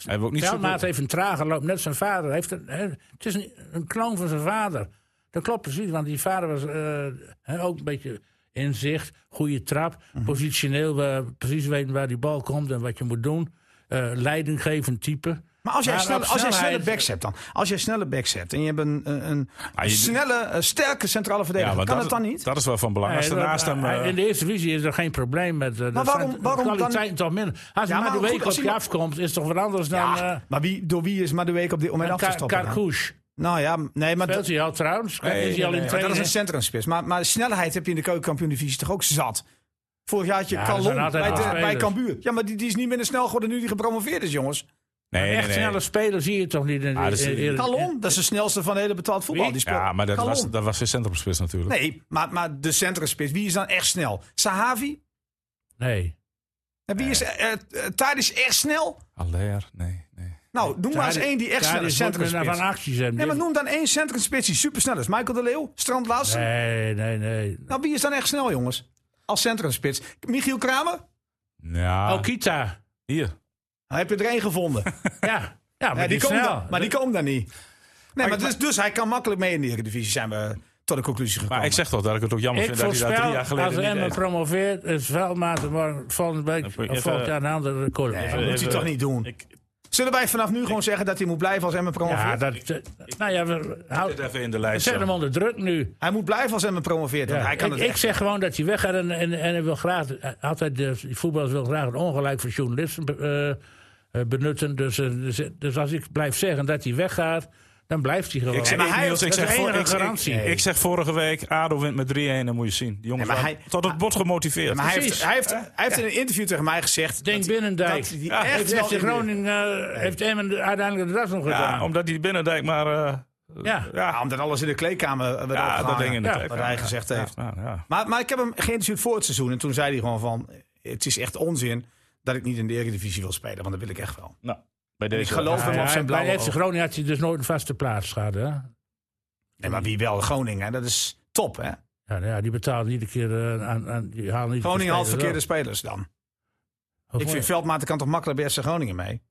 S1: Hij heeft ook niet
S3: Veldmaat
S1: super-
S3: heeft een trage loop, net zijn vader. Hij Heeft een, hè, het is een, een kloon van zijn vader. Dat klopt precies, want die vader was eh, hè, ook een beetje inzicht, goede trap,
S1: Mhm.
S3: positioneel, eh, precies weten waar die bal komt en wat je moet doen. Eh, leidinggevend type.
S4: Maar als jij,
S3: Maar
S4: snelle,
S3: op
S4: als jij
S3: snelheid-
S4: snelle backs hebt dan. Als jij snelle backs hebt en je hebt een, een, een
S1: Ah, je-
S4: snelle, eh, sterke centrale verdediger.
S1: maar
S4: kan
S1: dat-
S4: het dan niet?
S1: Dat is wel van belang. Als
S3: Nee,
S1: er
S3: dat-
S1: naast hem...
S3: hij-
S1: eh,
S3: in de eerste divisie is er geen probleem met. eh, dat
S4: waarom-
S3: zijn- de
S4: waarom dan-
S3: kwaliteit toch minder. Als
S4: Ja,
S3: een
S4: maar
S3: Madueke
S4: goed,
S3: op
S4: als
S3: je
S4: iemand-
S3: afkomt, is toch wat anders dan.
S4: ja,
S3: eh
S4: maar wie, door wie is Madueke op dit moment
S3: dan
S4: af te
S3: Kar-
S4: stoppen? dan?
S3: Karkoes.
S4: Nou ja, nee, maar
S3: Speelt
S4: dat,
S3: hij al trouwens?
S1: Nee, nee,
S3: is hij al in
S1: maar
S4: maar dat is
S3: training?
S4: een centrumspits. Maar, maar snelheid heb je in de keukenkampioen-divisie toch ook zat? Vorig jaar had je
S3: Ja, er
S4: Calon
S3: zijn altijd
S4: bij, de-
S3: wel
S4: bij
S3: spelers.
S4: Cambuur. Ja, maar die, die is niet minder snel geworden nu die gepromoveerd is, jongens.
S1: nee, nee,
S3: Echt
S1: nee.
S3: snelle speler zie je toch niet in de
S1: Ah, dat is-
S3: in- in-
S4: Calon, dat is de snelste van de hele betaald voetbal.
S3: Wie?
S4: Die speelt.
S1: Ja, maar dat
S4: Calon.
S1: was, dat was zijn centrumspits natuurlijk.
S4: Nee, maar, maar de centrumspits, wie is dan echt snel? Sahavi?
S3: Nee.
S4: En wie is... eh, eh, Tadic echt snel?
S1: Allaire, nee, nee.
S4: Nou, noem maar eens
S3: Daar-
S4: één die echt
S3: daar
S4: snel is.
S3: is wat men
S4: Centrumspits.
S3: Van acties hebben.
S4: Nee, maar noem dan één centrumspits die supersnel is. Michael de Leeuw, Strand Larsen.
S3: nee, nee, nee.
S4: Nou, wie is dan echt snel, jongens? Als centrumspits. Michiel Kramer?
S1: Ja,
S3: Oh, Kita.
S1: hier.
S4: Nou, heb je er één gevonden.
S3: Ja. Ja, maar
S4: Ja,
S3: die,
S4: die
S3: is
S4: komt
S3: snel.
S4: dan, maar die komt daar niet. Nee, maar dus, dus hij kan makkelijk mee in de Eredivisie, zijn we tot de conclusie gekomen.
S1: Maar ik zeg toch dat ik het ook jammer
S3: ik
S1: vind dat hij daar drie
S3: voorspel,
S1: jaar
S3: als
S1: geleden
S3: Emmen
S1: niet deed.
S3: promoveert, is Veldmaat er morgen volgende week
S1: Even-
S3: of volgend jaar een ander record.
S4: Nee,
S3: Ja,
S4: dat moet hij
S1: even-
S4: toch niet doen.
S1: Ik-
S4: Zullen wij vanaf nu gewoon zeggen dat hij moet blijven als Emmen promoveert?
S3: dat... eh, Nou ja, we
S1: Zet
S3: houden...
S1: even in de lijst. eh.
S3: Zet hem onder druk nu.
S4: Hij moet blijven als Emmen promoveert. want
S3: Ja,
S4: hij kan
S3: ik,
S4: het
S3: ik
S4: echt.
S3: zeg gewoon dat hij weggaat en, en, en hij wil graag, altijd de die voetballers wil graag het ongelijk van journalisten be- eh, eh, benutten. Dus, eh, dus, dus als ik blijf zeggen dat hij weggaat, dan blijft hij gewoon.
S1: Ik zeg,
S4: maar hij-
S1: Niels, ik
S4: dat
S3: is
S1: zeg,
S3: de
S1: voor-
S3: enige
S1: ik, ik-
S3: garantie.
S1: ik zeg vorige week, ADO wint met 3-1, dan moet je zien. Die jongens
S4: Nee, maar
S1: waren
S4: hij-
S1: tot het bot gemotiveerd.
S4: Maar hij heeft,
S3: precies.
S4: hij, heeft, hij heeft in een interview tegen mij gezegd...
S3: Denk
S4: dat hij-
S3: Binnendijk.
S4: dat hij
S1: Ja,
S4: echt
S3: heeft
S4: wel
S3: FC
S4: in de-
S3: Groningen eh, heeft Emmen de- uiteindelijk de das nog
S1: ja,
S3: gedaan.
S1: omdat die binnendijk maar... eh,
S3: Ja.
S4: Ja,
S1: ja,
S4: omdat alles in de kleedkamer eh, werd
S1: ja, dat
S4: opgehangen.
S1: ding in de
S3: Ja,
S1: tijd.
S4: wat hij gezegd
S1: ja,
S4: heeft.
S1: ja, nou, ja.
S4: Maar, maar ik heb hem geïnterviewd voor het seizoen. En toen zei hij gewoon van... Het is echt onzin dat ik niet in de Eredivisie wil spelen. Want dat wil ik echt wel.
S1: Nou, bij deze...
S4: geloof
S3: Ja,
S4: hem op
S3: ja,
S4: zijn blauwe
S3: bij FC
S4: ogen.
S3: Groningen had hij dus nooit een vaste plaats gehad. Hè? Ja,
S4: Nee, maar wie wel? Groningen. hè? Dat is top, hè?
S3: nou ja, die betaalde iedere keer eh, aan. aan die haalde niet
S4: Groningen haalt verkeerde
S3: verkeerde
S4: spelers dan. Ik vind Veldmaat kan toch makkelijk bij FC Groningen mee?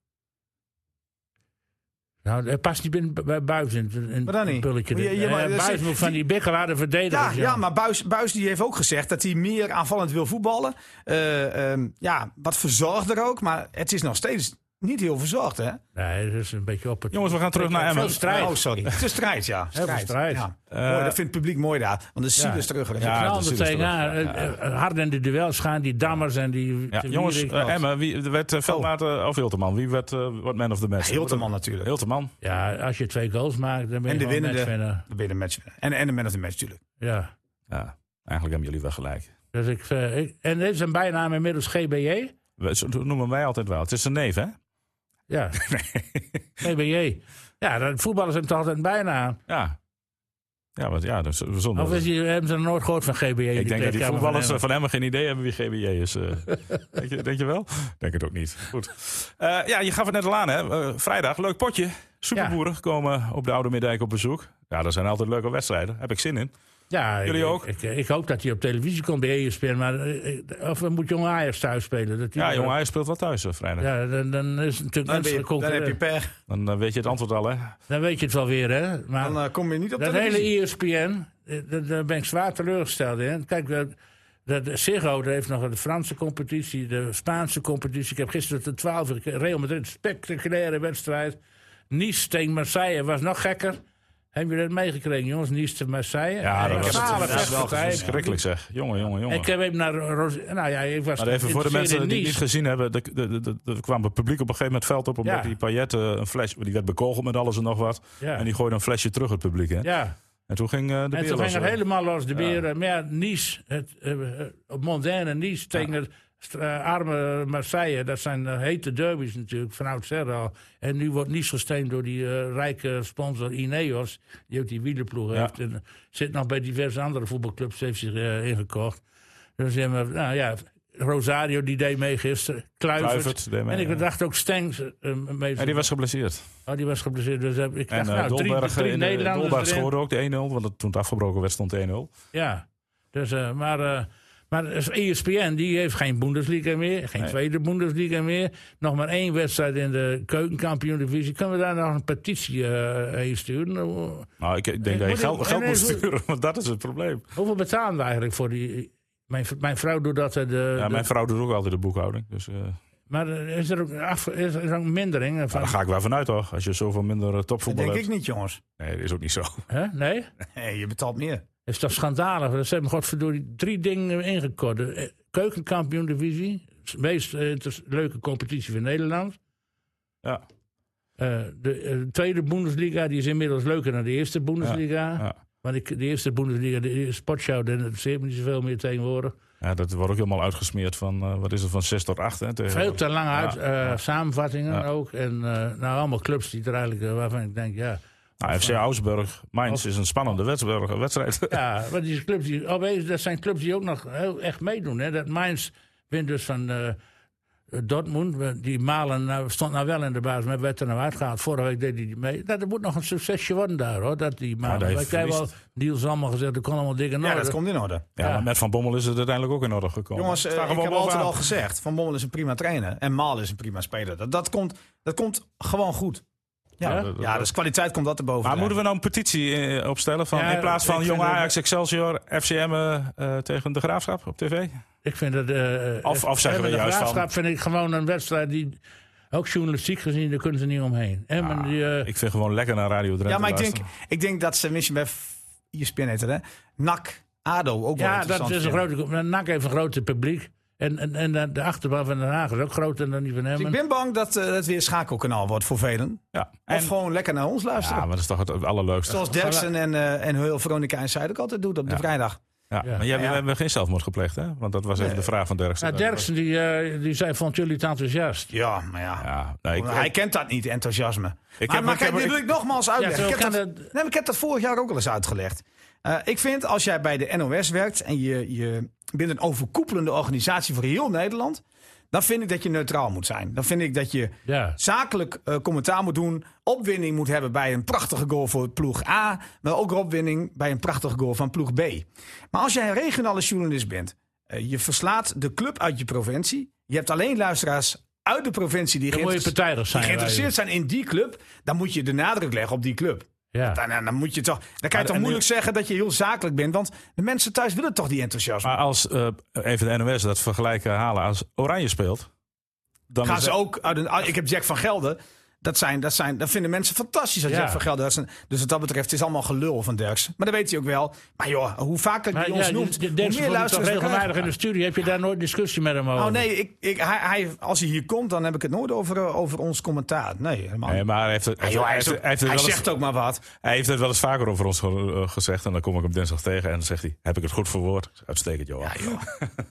S3: Nou, hij past niet binnen bij Buis in, in- in
S4: Maar dan
S3: het
S4: niet.
S3: pulletje.
S4: Maar je- je-
S3: Eh,
S4: maar- dat
S3: Buis
S4: is-
S3: moet van die bikkelaar de verdediger.
S4: Ja, ja maar Buis, Buis die heeft ook gezegd dat hij meer aanvallend wil voetballen. Eh, ehm, ja, wat verzorgd er ook. Maar het is nog steeds Niet heel verzorgd, hè?
S3: Nee, dat is een beetje op het...
S1: Jongens, we gaan terug naar
S3: Veel
S1: Emmen.
S3: strijd.
S4: Oh, sorry. Het is strijd, ja.
S3: veel strijd. Eh,
S4: Ja.
S1: Eh,
S4: mooi, dat vindt het publiek mooi daar. Want de ziel is terug.
S1: Ja,
S3: Ja,
S1: dat is
S3: tegen
S1: terug.
S3: haar. Eh, eh, Harden die duels gaan, die dammers en die...
S1: Ja,
S3: te
S1: jongens,
S3: Wierik.
S1: eh, Emmen, wie er werd eh, veldmaat eh, of Hilterman? Wie werd eh, wat man of the match?
S4: Oh. Hilterman natuurlijk.
S1: Hilterman.
S3: ja, als je twee goals maakt, dan ben
S4: En de
S3: je gewoon
S4: winnende.
S3: matchwinner.
S4: Dan ben je de match. En, en de man of the match natuurlijk.
S3: Ja.
S1: Ja, eigenlijk hebben jullie wel gelijk.
S3: Dus ik, eh, ik- en dit is een bijnaam inmiddels GBJ.
S1: We- Zo noemen wij altijd wel. Het is een neef, hè?
S3: Ja. GBJ. Ja, dan, voetballers hebben toch altijd een bijnaam.
S1: Ja. Ja, want ja, dus zonder...
S3: Of is die, hebben ze nog nooit gehoord van GBJ?
S1: ik denk dat die voetballers
S3: Van
S1: van hem geen idee hebben wie GBJ is. eh. denk, je, denk je wel? Denk het ook niet. Goed. Eh, ja, je gaf het net al aan, hè? Eh, vrijdag, leuk potje. Superboeren komen op de Oude Middijk op bezoek. Ja, dat zijn altijd leuke wedstrijden. Heb ik zin in.
S3: ja,
S1: eh, Jullie
S3: ik-
S1: ook?
S3: Ik, ik hoop dat hij op televisie komt bij ESPN. Maar, eh, eh, of moet Jong Ajax thuis spelen? Dat die-
S1: Ja, jongen, hij speelt wel thuis eh, vrijdag.
S3: Ja, dan, dan is het natuurlijk
S4: Dan, ben je,
S3: menselijk
S4: dan heb je
S3: concurrent.
S4: per.
S1: Dan eh, weet je het antwoord al, hè?
S3: Dan weet je het wel weer, hè? Maar
S4: Dan eh, kom je niet op
S3: dat
S4: televisie.
S3: hele ESPN, eh, dat- daar ben ik zwaar teleurgesteld in. Kijk, dat, dat Ziggo dat heeft nog de Franse competitie, de Spaanse competitie. Ik heb gisteren de 12 uur Real Madrid, spectaculaire wedstrijd. Nice tegen Marseille was nog gekker. Hebben jullie dat meegekregen, jongens? Nice tegen Marseille.
S1: Ja, dat
S3: Een
S1: was
S3: kale
S1: het.
S3: vechtpartij.
S1: Verschrikkelijk zeg. Jongen, jongen, jongen.
S3: Ik heb even naar... Ros- nou ja, ik was
S1: Maar even voor de
S3: geïnteresseerd
S1: mensen
S3: in
S1: die het niet
S3: Nice.
S1: gezien hebben. Er de, de, de, er kwam het publiek op een gegeven moment veld op. Omdat
S3: Ja.
S1: die Payet eh, een fles... Die werd bekogeld met alles en nog wat.
S3: Ja.
S1: En die gooide een flesje terug het publiek, hè?
S3: Ja.
S1: En toen ging eh, de
S3: En
S1: beer
S3: toen
S1: los.
S3: ging het helemaal los, de beren. Maar ja, Nice, het, eh, eh, op Mondaine, Nice tegen het st- eh, arme Marseille. Dat zijn eh, hete derbies natuurlijk, van oudsher al. En nu wordt Nice gesteund door die eh, rijke sponsor Ineos. Die ook die wielerploeg heeft. En eh, zit nog bij diverse andere voetbalclubs, heeft zich eh, ingekocht. Dus ja, maar, nou ja... Rosario die deed mee gisteren. Kluivert.
S1: Kluivert deed mee,
S3: en ik
S1: ja.
S3: dacht ook Stengs. eh, mee
S1: En die was geblesseerd.
S3: oh, die was geblesseerd. Dus heb ik
S1: En
S3: dacht,
S1: eh,
S3: nou, drie,
S1: Dolberg,
S3: drie
S1: eh, in de-
S3: Nederlanders
S1: Dolberg
S3: erin.
S1: scoorde ook de 1-0. Want het, toen het afgebroken werd stond 1-0.
S3: Ja, dus, eh, maar, eh, maar E ESPN die heeft geen Bundesliga meer, geen tweede Bundesliga meer. Nog maar één wedstrijd in de keukenkampioen-divisie. Kunnen we daar nog een petitie eh, heen sturen? Hoe-
S1: Nou, ik denk
S3: Eh,
S1: dat je
S3: moet
S1: geld,
S3: ik-
S1: geld
S3: en
S1: moet
S3: even-
S1: sturen. Want dat is het probleem.
S3: Hoeveel betalen we eigenlijk voor die... Mijn, v- mijn vrouw doet dat. eh, De,
S1: Ja,
S3: de-
S1: mijn vrouw doet ook altijd de boekhouding. Dus eh, nou,
S3: maar eh, is er ook, af, is er ook mindering? eh, Van,
S1: daar ga ik wel vanuit, toch? Als je zoveel minder eh,
S4: Dat
S1: topvoetbal
S4: denk
S1: hebt.
S4: ik niet, jongens.
S1: Nee, dat is ook niet zo.
S3: hè? Nee?
S4: Nee, je betaalt meer.
S3: Dat is toch schandalig? Ze hebben godverdorie drie dingen ingekort. De eh, keukenkampioen-divisie. de Meest eh, inter- leuke competitie van Nederland.
S1: Ja,
S3: Eh, de eh, tweede Bundesliga die is inmiddels leuker dan de eerste Bundesliga.
S1: ja.
S3: Want ik, de eerste Bundesliga, de sportshow, daar interesseert me niet zoveel meer tegenwoordig.
S1: ja, dat wordt ook helemaal uitgesmeerd van, eh, wat is het, van 6 tot 8. Hè, tegen...
S3: Veel te lang uit, eh, samenvattingen
S1: Ja.
S3: ook. En eh, nou, allemaal clubs die er eigenlijk, eh, waarvan ik denk, ja.
S1: Nou, FC Augsburg, Mainz is een spannende wedstrijd. wedstrijd.
S3: Ja, want die clubs die, opeens, dat zijn clubs die ook nog heel echt meedoen. Hè. Dat Mainz wint dus van eh, Dortmund. Die Malen nou, stond nou wel in de baas, maar werd er nou uitgehaald. Vorige week deed hij die mee. Nou, Dat, dat moet nog een succesje worden daar, hoor. Dat die Malen.
S1: hij
S3: Wij krijgen wel,
S1: verliest.
S3: Niels allemaal gezegd, dat kon allemaal dikke
S4: Ja,
S3: noorden.
S4: dat komt in orde.
S1: Ja, maar met Van Bommel is het uiteindelijk ook in orde gekomen.
S4: Jongens, eh,
S1: Staan
S4: ik
S1: gewoon
S4: heb altijd
S1: bovenaan.
S4: al gezegd: Van Bommel is een prima trainer. En Maal is een prima speler. Dat, dat, komt, dat komt gewoon goed. Ja,
S1: Ja,
S4: ja,
S1: dat- dat-
S4: dus kwaliteit komt dat erboven.
S1: Maar
S4: drijven.
S1: moeten we nou een petitie eh, opstellen van
S3: Ja,
S1: in plaats
S3: ik
S1: van
S3: vind
S1: Jong
S3: dat-
S1: Ajax, Excelsior, FCM eh, eh, tegen de Graafschap op tv?
S3: Ik vind dat. eh
S1: Of- of zeggen we
S3: Emmen de
S1: juist van-
S3: Graafschap vind ik gewoon een wedstrijd die. Ook journalistiek gezien, daar kunnen ze niet omheen. Emmen, die, eh,
S1: Ah, Ik vind gewoon lekker naar Radio Drenthe
S4: Ja, maar ik denk,
S1: luisteren.
S4: ik denk dat ze misschien bij F- E ESPN heet het, hè? NAC, ADO ook wel
S3: ja,
S4: interessant
S3: dat is een
S4: vinden.
S3: grote. NAC heeft een groter publiek. En, en, en de- de achterban van Den Haag is ook groter dan die van
S4: Dus
S3: Emmen.
S4: ik ben bang dat eh, het weer een schakelkanaal wordt voor velen.
S1: Ja,
S4: of
S1: en,
S4: gewoon lekker naar ons
S1: ja,
S4: luisteren.
S1: maar dat is toch het allerleukste.
S4: Zoals Derksen en, eh en Heul, Veronica en Zuid ook altijd doet op de
S1: Ja.
S4: vrijdag.
S1: Ja.
S3: Ja.
S1: Maar jij
S4: Ja.
S1: hebt geen zelfmoord gepleegd, hè? Want dat was even de vraag van Derksen.
S3: Nou, Derksen, die, eh, die zei, vond jullie het enthousiast?
S4: Ja, maar ja.
S1: Ja, nee, ik,
S4: hij kent dat niet, enthousiasme. maar
S1: heb-
S4: maar
S1: ik
S4: kijk,
S1: heb-
S4: dit
S1: ik-
S4: wil ik nogmaals uitleggen.
S3: zo
S4: Oh, ik, heb
S3: kan
S4: dat,
S3: het-
S4: nee, maar ik heb dat vorig jaar ook al eens uitgelegd. Eh, ik vind, als jij bij de NOS werkt en je, je bent een overkoepelende organisatie voor heel Nederland... dan vind ik dat je neutraal moet zijn. Dan vind ik dat je
S3: Ja.
S4: zakelijk eh, commentaar moet doen. Opwinding moet hebben bij een prachtige goal voor ploeg A. Maar ook opwinding bij een prachtige goal van ploeg B. Maar als jij een regionale journalist bent. eh, je verslaat de club uit je provincie. Je hebt alleen luisteraars uit de provincie die,
S3: Dan moet je
S4: geïnteres-
S3: partijdig
S4: die
S3: zijn.
S4: geïnteresseerd zijn in die club. Dan moet je de nadruk leggen op die club.
S3: wij. eh, Ja.
S4: Dan, dan- dan moet je toch, dan kan je toch
S1: en-
S4: moeilijk zeggen dat je heel zakelijk bent. Want de mensen thuis willen toch die enthousiasme.
S1: Maar als eh, even de NOS dat vergelijken halen als Oranje speelt, Dan
S4: gaan
S1: is
S4: ze
S1: het-
S4: ook uit een, ah, ik heb Jack van Gelder. Dat, zijn, dat, zijn, dat vinden mensen fantastisch als
S3: Ja.
S4: Jack van Gelder. Dat is een- dus wat dat betreft het is allemaal gelul van Derksen. Maar dat weet hij ook wel. Maar joh, hoe vaker hij
S3: Maar
S4: ons
S3: ja,
S4: noemt,
S3: de,
S4: hoe meer
S3: toch
S4: luisteren ze
S3: regelmatig in de studie. Heb je daar nooit discussie met hem over?
S4: Oh nee, ik, ik, hij, hij- als hij hier komt, dan heb ik het nooit over, eh, over ons commentaar. Nee, helemaal
S1: Nee,
S4: niet.
S1: maar hij heeft het,
S4: Ja, Ah, joh,
S1: hij
S4: hij
S1: heeft
S4: is
S1: het-
S4: ook-
S1: hij heeft het
S4: hij
S1: wel eens-
S4: zegt ook maar wat.
S1: hij heeft het wel eens vaker over ons ge- eh, gezegd. En dan kom ik hem dinsdag tegen en dan zegt hij: Heb ik het goed verwoord? Uitstekend, Johan.
S4: Ja, Ah, joh.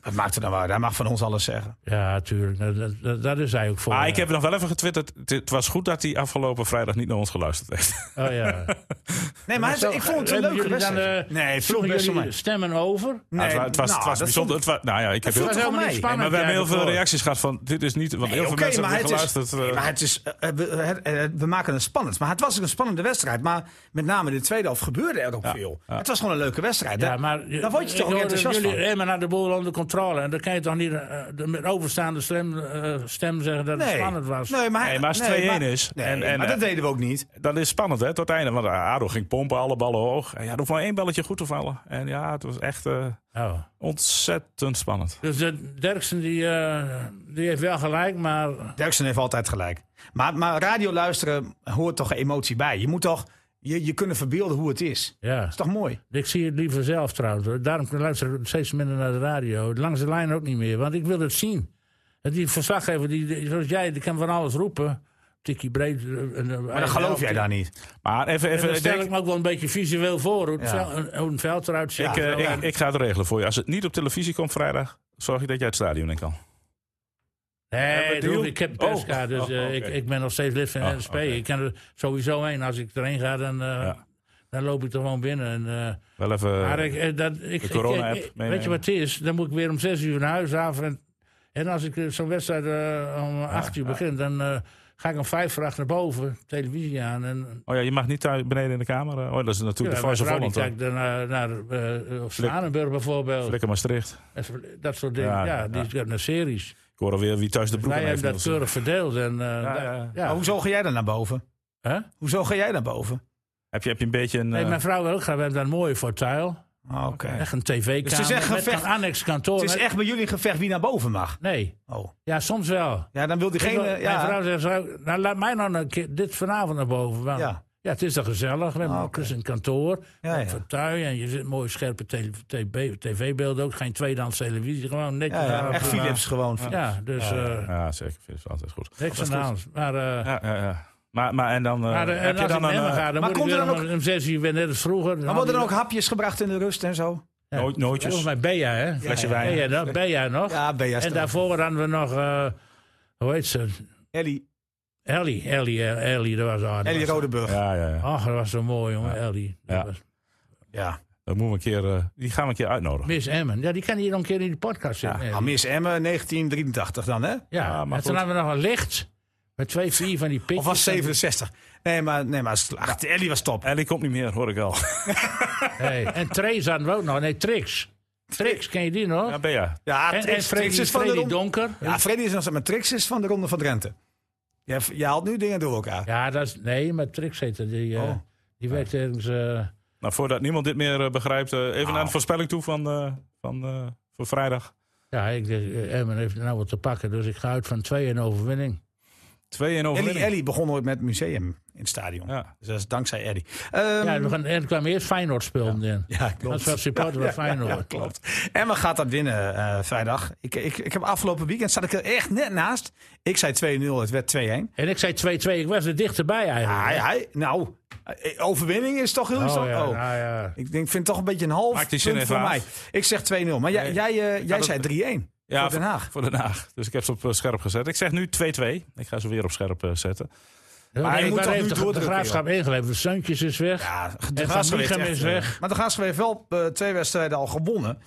S4: Wat maakt er dan uit? Hij mag van ons alles zeggen.
S3: Ja, tuurlijk. Dat, dat- dat, dat is hij ook voor.
S1: Maar
S4: Eh,
S3: ja.
S1: Ah, ik heb nog wel even getwitterd. Het, het was goed dat hij afgelopen vrijdag niet naar ons geluisterd heeft.
S3: Oh, ja.
S4: Nee, maar hij-
S3: Zo,
S4: ik vond het een
S3: Oh, hebben
S4: leuke
S3: jullie dan,
S4: wedstrijd.
S3: eh,
S4: nee, het viel
S3: sloegen
S4: best wel
S3: jullie
S4: mee.
S3: stemmen over?
S1: Ja,
S4: Nee,
S1: het, wa- het was,
S4: nou,
S1: het was
S4: dat
S1: bijzonder.
S4: vond-
S1: Het wa- nou ja, ik heb heel,
S4: vond
S1: nee,
S4: ik
S3: helemaal
S4: mee.
S3: niet
S1: maar
S3: spannend.
S1: we hebben heel veel
S3: eigenlijk, hoor.
S1: reacties gehad van: Dit is niet. Want heel
S4: Nee,
S1: veel
S4: Oké,
S1: mensen
S4: maar
S1: hebben
S4: het is-
S1: geluisterd. eh,
S4: nee, maar het is, eh, we, het- eh, we maken het spannend. Maar het was ook een spannende wedstrijd. Maar met name in de tweede helft gebeurde er ook veel. Het was gewoon een leuke wedstrijd.
S3: Ja,
S4: Daar-
S3: maar je-
S4: daar word je
S3: ik
S4: toch ook
S3: hoorde
S4: enthousiast
S3: jullie
S4: van.
S3: remmen naar de boel onder controle. En dan kan je toch niet eh, de- met overstaande stem, eh, stem zeggen dat het
S4: Nee.
S3: spannend was.
S4: Nee, maar,
S1: Nee, maar als het 2-1 is
S4: Nee,
S1: en- en,
S4: maar dat
S1: eh,
S4: deden we ook niet.
S1: Dat is spannend, hè, tot het einde. Want Ado ging pompen, alle ballen hoog. En ja, er hoeft maar één balletje goed te vallen. En ja, het was echt eh,
S3: Oh.
S1: ontzettend spannend.
S3: Dus de Derksen die, eh, die heeft wel gelijk, maar
S4: Derksen heeft altijd gelijk. Maar, maar radio luisteren hoort toch emotie bij. Je moet toch je, je kunnen verbeelden hoe het is. Dat
S3: ja.
S4: is toch mooi?
S3: Ik zie het liever zelf trouwens. hoor. Daarom luister ik steeds minder naar de radio. Langs de lijn ook niet meer, want ik wil het zien. En Die verslaggever, die, die- zoals jij, die kan van alles roepen. Tikkie breed. eh,
S4: Maar dan geloof jij daar niet.
S1: Maar even,
S3: En
S1: even
S3: dat
S1: ik,
S3: stel
S1: denk-
S3: ik me ook wel een beetje visueel voor hoe, het
S4: Ja.
S3: veld- hoe een veld eruit ziet.
S1: ik, eh, ik, ik ga het regelen voor je. Als het niet op televisie komt vrijdag, zorg ik dat jij het stadion in kan. Hebben we
S3: Nee, dat hoeft
S1: deal?
S3: niet. ik heb perskaart,
S1: Oh.
S3: dus
S1: Oh,
S3: eh,
S1: oké.
S3: ik, ik ben nog steeds lid van
S1: Oh,
S3: NSP.
S1: oké.
S3: Ik kan er sowieso heen. Als ik erheen ga, dan, eh,
S1: Ja.
S3: dan loop ik er gewoon binnen. En, eh,
S1: Wel even.
S3: maar ik, eh, dat, ik, ik-
S1: corona-app
S3: ik- weet
S1: meenemen.
S3: je wat het is? Dan moet ik weer om zes uur naar huis af. En, en als ik eh, zo'n wedstrijd eh, om acht uur begin, dan eh, ga ik om vijf voor acht naar boven, televisie aan. En,
S1: Oh ja, je mag niet thuis beneden in de kamer. eh. Oh, dat is natuurlijk
S3: Ja,
S1: de
S3: mijn
S1: Voice of
S3: vrouw die
S1: Holland. hoor.
S3: kijkt dan naar, naar eh, of Zwanenburg bijvoorbeeld.
S1: Flikker Maastricht.
S3: Dat soort dingen.
S1: Ja,
S3: Ja,
S1: ja.
S3: die kijkt naar series.
S1: Ik hoor alweer wie thuis de broek
S3: Wij
S1: aan heeft.
S3: hebben dat
S1: Niels.
S3: keurig verdeeld. En, eh, dat-
S1: ja.
S4: Maar hoezo ga jij dan naar boven?
S3: Hè?
S4: Hoezo ga jij naar boven?
S1: Heb je, heb je een beetje een.
S3: Nee,
S1: eh,
S3: mijn vrouw wil ook graag. We hebben daar een mooie fortuil.
S4: Ah, Oké.
S3: Echt een tv-kamer.
S4: Dus het is echt
S3: met
S4: gevecht-
S3: een annex kantoor.
S4: Het is echt bij jullie een gevecht wie naar boven mag.
S3: Nee.
S4: Oh.
S3: Ja, soms wel.
S4: Ja, dan wil
S3: Ik
S4: diegene...
S3: wil-
S4: eh, ja.
S3: Mijn vrouw zegt, zo, nou, laat mij nou een keer dit vanavond naar boven. Want, ja.
S4: Ja.
S3: het is toch gezellig. We hebben
S4: Ah,
S3: ook eens een kantoor.
S4: Ja,
S3: een
S4: ja.
S3: fortuil. En je zit mooie scherpe tele- tv tv-beelden ook. Geen tweedehands televisie. Gewoon netjes.
S4: Ja, ja,
S3: daarop,
S4: echt
S3: eh,
S4: Philips gewoon.
S3: Ja, dus eh
S1: Ja, Ah, zeker. Vind het altijd goed.
S3: niks aan de hand. Maar... eh,
S1: Ja, ja, ja. Maar, maar en dan. eh,
S3: maar, eh, en
S1: heb je dan
S3: als ik
S1: een.
S3: naar Emmen
S1: eh,
S3: ga,
S4: maar
S3: dan moet ik
S4: komt er
S3: weer
S4: dan
S3: om, om zes uur weer net als vroeger. Dan
S4: Maar worden er ook
S3: hadden
S4: hapjes gebracht in de rust en zo?
S3: die-
S1: Noot- nootjes?
S3: Volgens mij ben jij, hè?
S1: Flesje
S4: ja, ja.
S1: wijn.
S3: Ben jij nog? Ben jij nog?
S4: Ja, ben jij
S3: En
S4: stil.
S3: daarvoor hadden we nog, eh, hoe heet ze?
S4: Ellie,
S3: Ellie, Ellie, eh, Ellie, dat was haar.
S4: Ellie Rodeburg. Ja.
S1: Ja, ja, ja.
S3: Ach, dat was zo mooi, jongen, Ellie. Dat
S1: Ja.
S3: was-
S1: Dan moeten we een keer, eh, die gaan we een keer uitnodigen.
S3: Miss Emmen. Ja, die kan hier nog een keer in de podcast zitten. Ellie.
S4: Ah, Miss Emmen, 1983 dan, hè?
S3: ja,
S1: Ja, maar
S3: en toen
S1: goed.
S3: hadden we nog een licht. Met twee, vier van die
S4: Of
S3: pikjes.
S4: was 67? Nee, maar, nee, maar ach, Ellie was top.
S1: Ellie komt niet meer, hoor ik al.
S3: Hey, En Trace hadden we ook nog. Nee, Trix. Trix, ken je die nog?
S1: Ja, ben je.
S4: Ja,
S3: en, en
S4: Trix,
S3: Freddy,
S4: Trix is van de
S3: Freddy
S4: ronde.
S3: Donker. Ja,
S4: Ja, Freddy is nog steeds, maar Trix is van de Ronde van Drenthe. Je, je haalt nu dingen door elkaar.
S3: dat is... Nee, maar Trix heette die. eh,
S4: Oh.
S3: Die werd ergens... eh,
S1: Nou, voordat niemand dit meer eh, begrijpt, eh,
S3: Nou.
S1: even naar de voorspelling toe van, eh, van eh, voor vrijdag. 2-1
S3: ja, ik denk, eh, Emmen heeft nou wat te pakken. Dus ik ga uit van twee en overwinning.
S1: overwinning.
S4: Ellie, Ellie begon ooit met museum in het stadion.
S1: Ja.
S4: Dus dat is dankzij Ellie. Ehm,
S3: Ja, we gaan, en er kwam eerst Feyenoord speelden in.
S4: ja, klopt.
S3: Dat is wel supporter van Feyenoord.
S4: Ja, klopt. En we gaat dat winnen eh, vrijdag. Ik, ik, ik heb afgelopen weekend zat ik er echt net naast. Ik zei 2-0, het werd 2-1.
S3: En ik zei 2-2, ik was er dichterbij eigenlijk.
S4: Hij, hij, nou, eh, overwinning is toch heel iets.
S3: Oh, ja,
S4: oh.
S3: nou ja.
S4: Ik denk, vind het toch een beetje een half
S1: Maakt die zin
S4: punt
S1: even
S4: voor
S1: af.
S4: mij. Ik zeg 2-0. Maar jij,
S1: Nee.
S4: jij, eh, jij
S1: dat-
S4: zei 3-1
S1: Ja,
S4: voor Den Haag.
S1: Voor Den Haag. Dus ik heb ze op eh, scherp gezet. Ik zeg nu 2-2. Ik ga ze weer op scherp eh, zetten.
S3: Maar
S4: hij
S3: ik
S4: moet
S3: ben
S4: toch
S3: even
S4: nu
S3: de, de
S4: doordrukken,
S3: graafschap ingeleverd. Suntjes is weg.
S4: Ja,
S3: En
S4: de
S3: Van
S4: Graafschap
S3: Mieghem
S4: heeft
S3: is
S4: echt,
S3: weg.
S4: eh, Maar de Graafschap heeft wel eh, twee wedstrijden al gewonnen.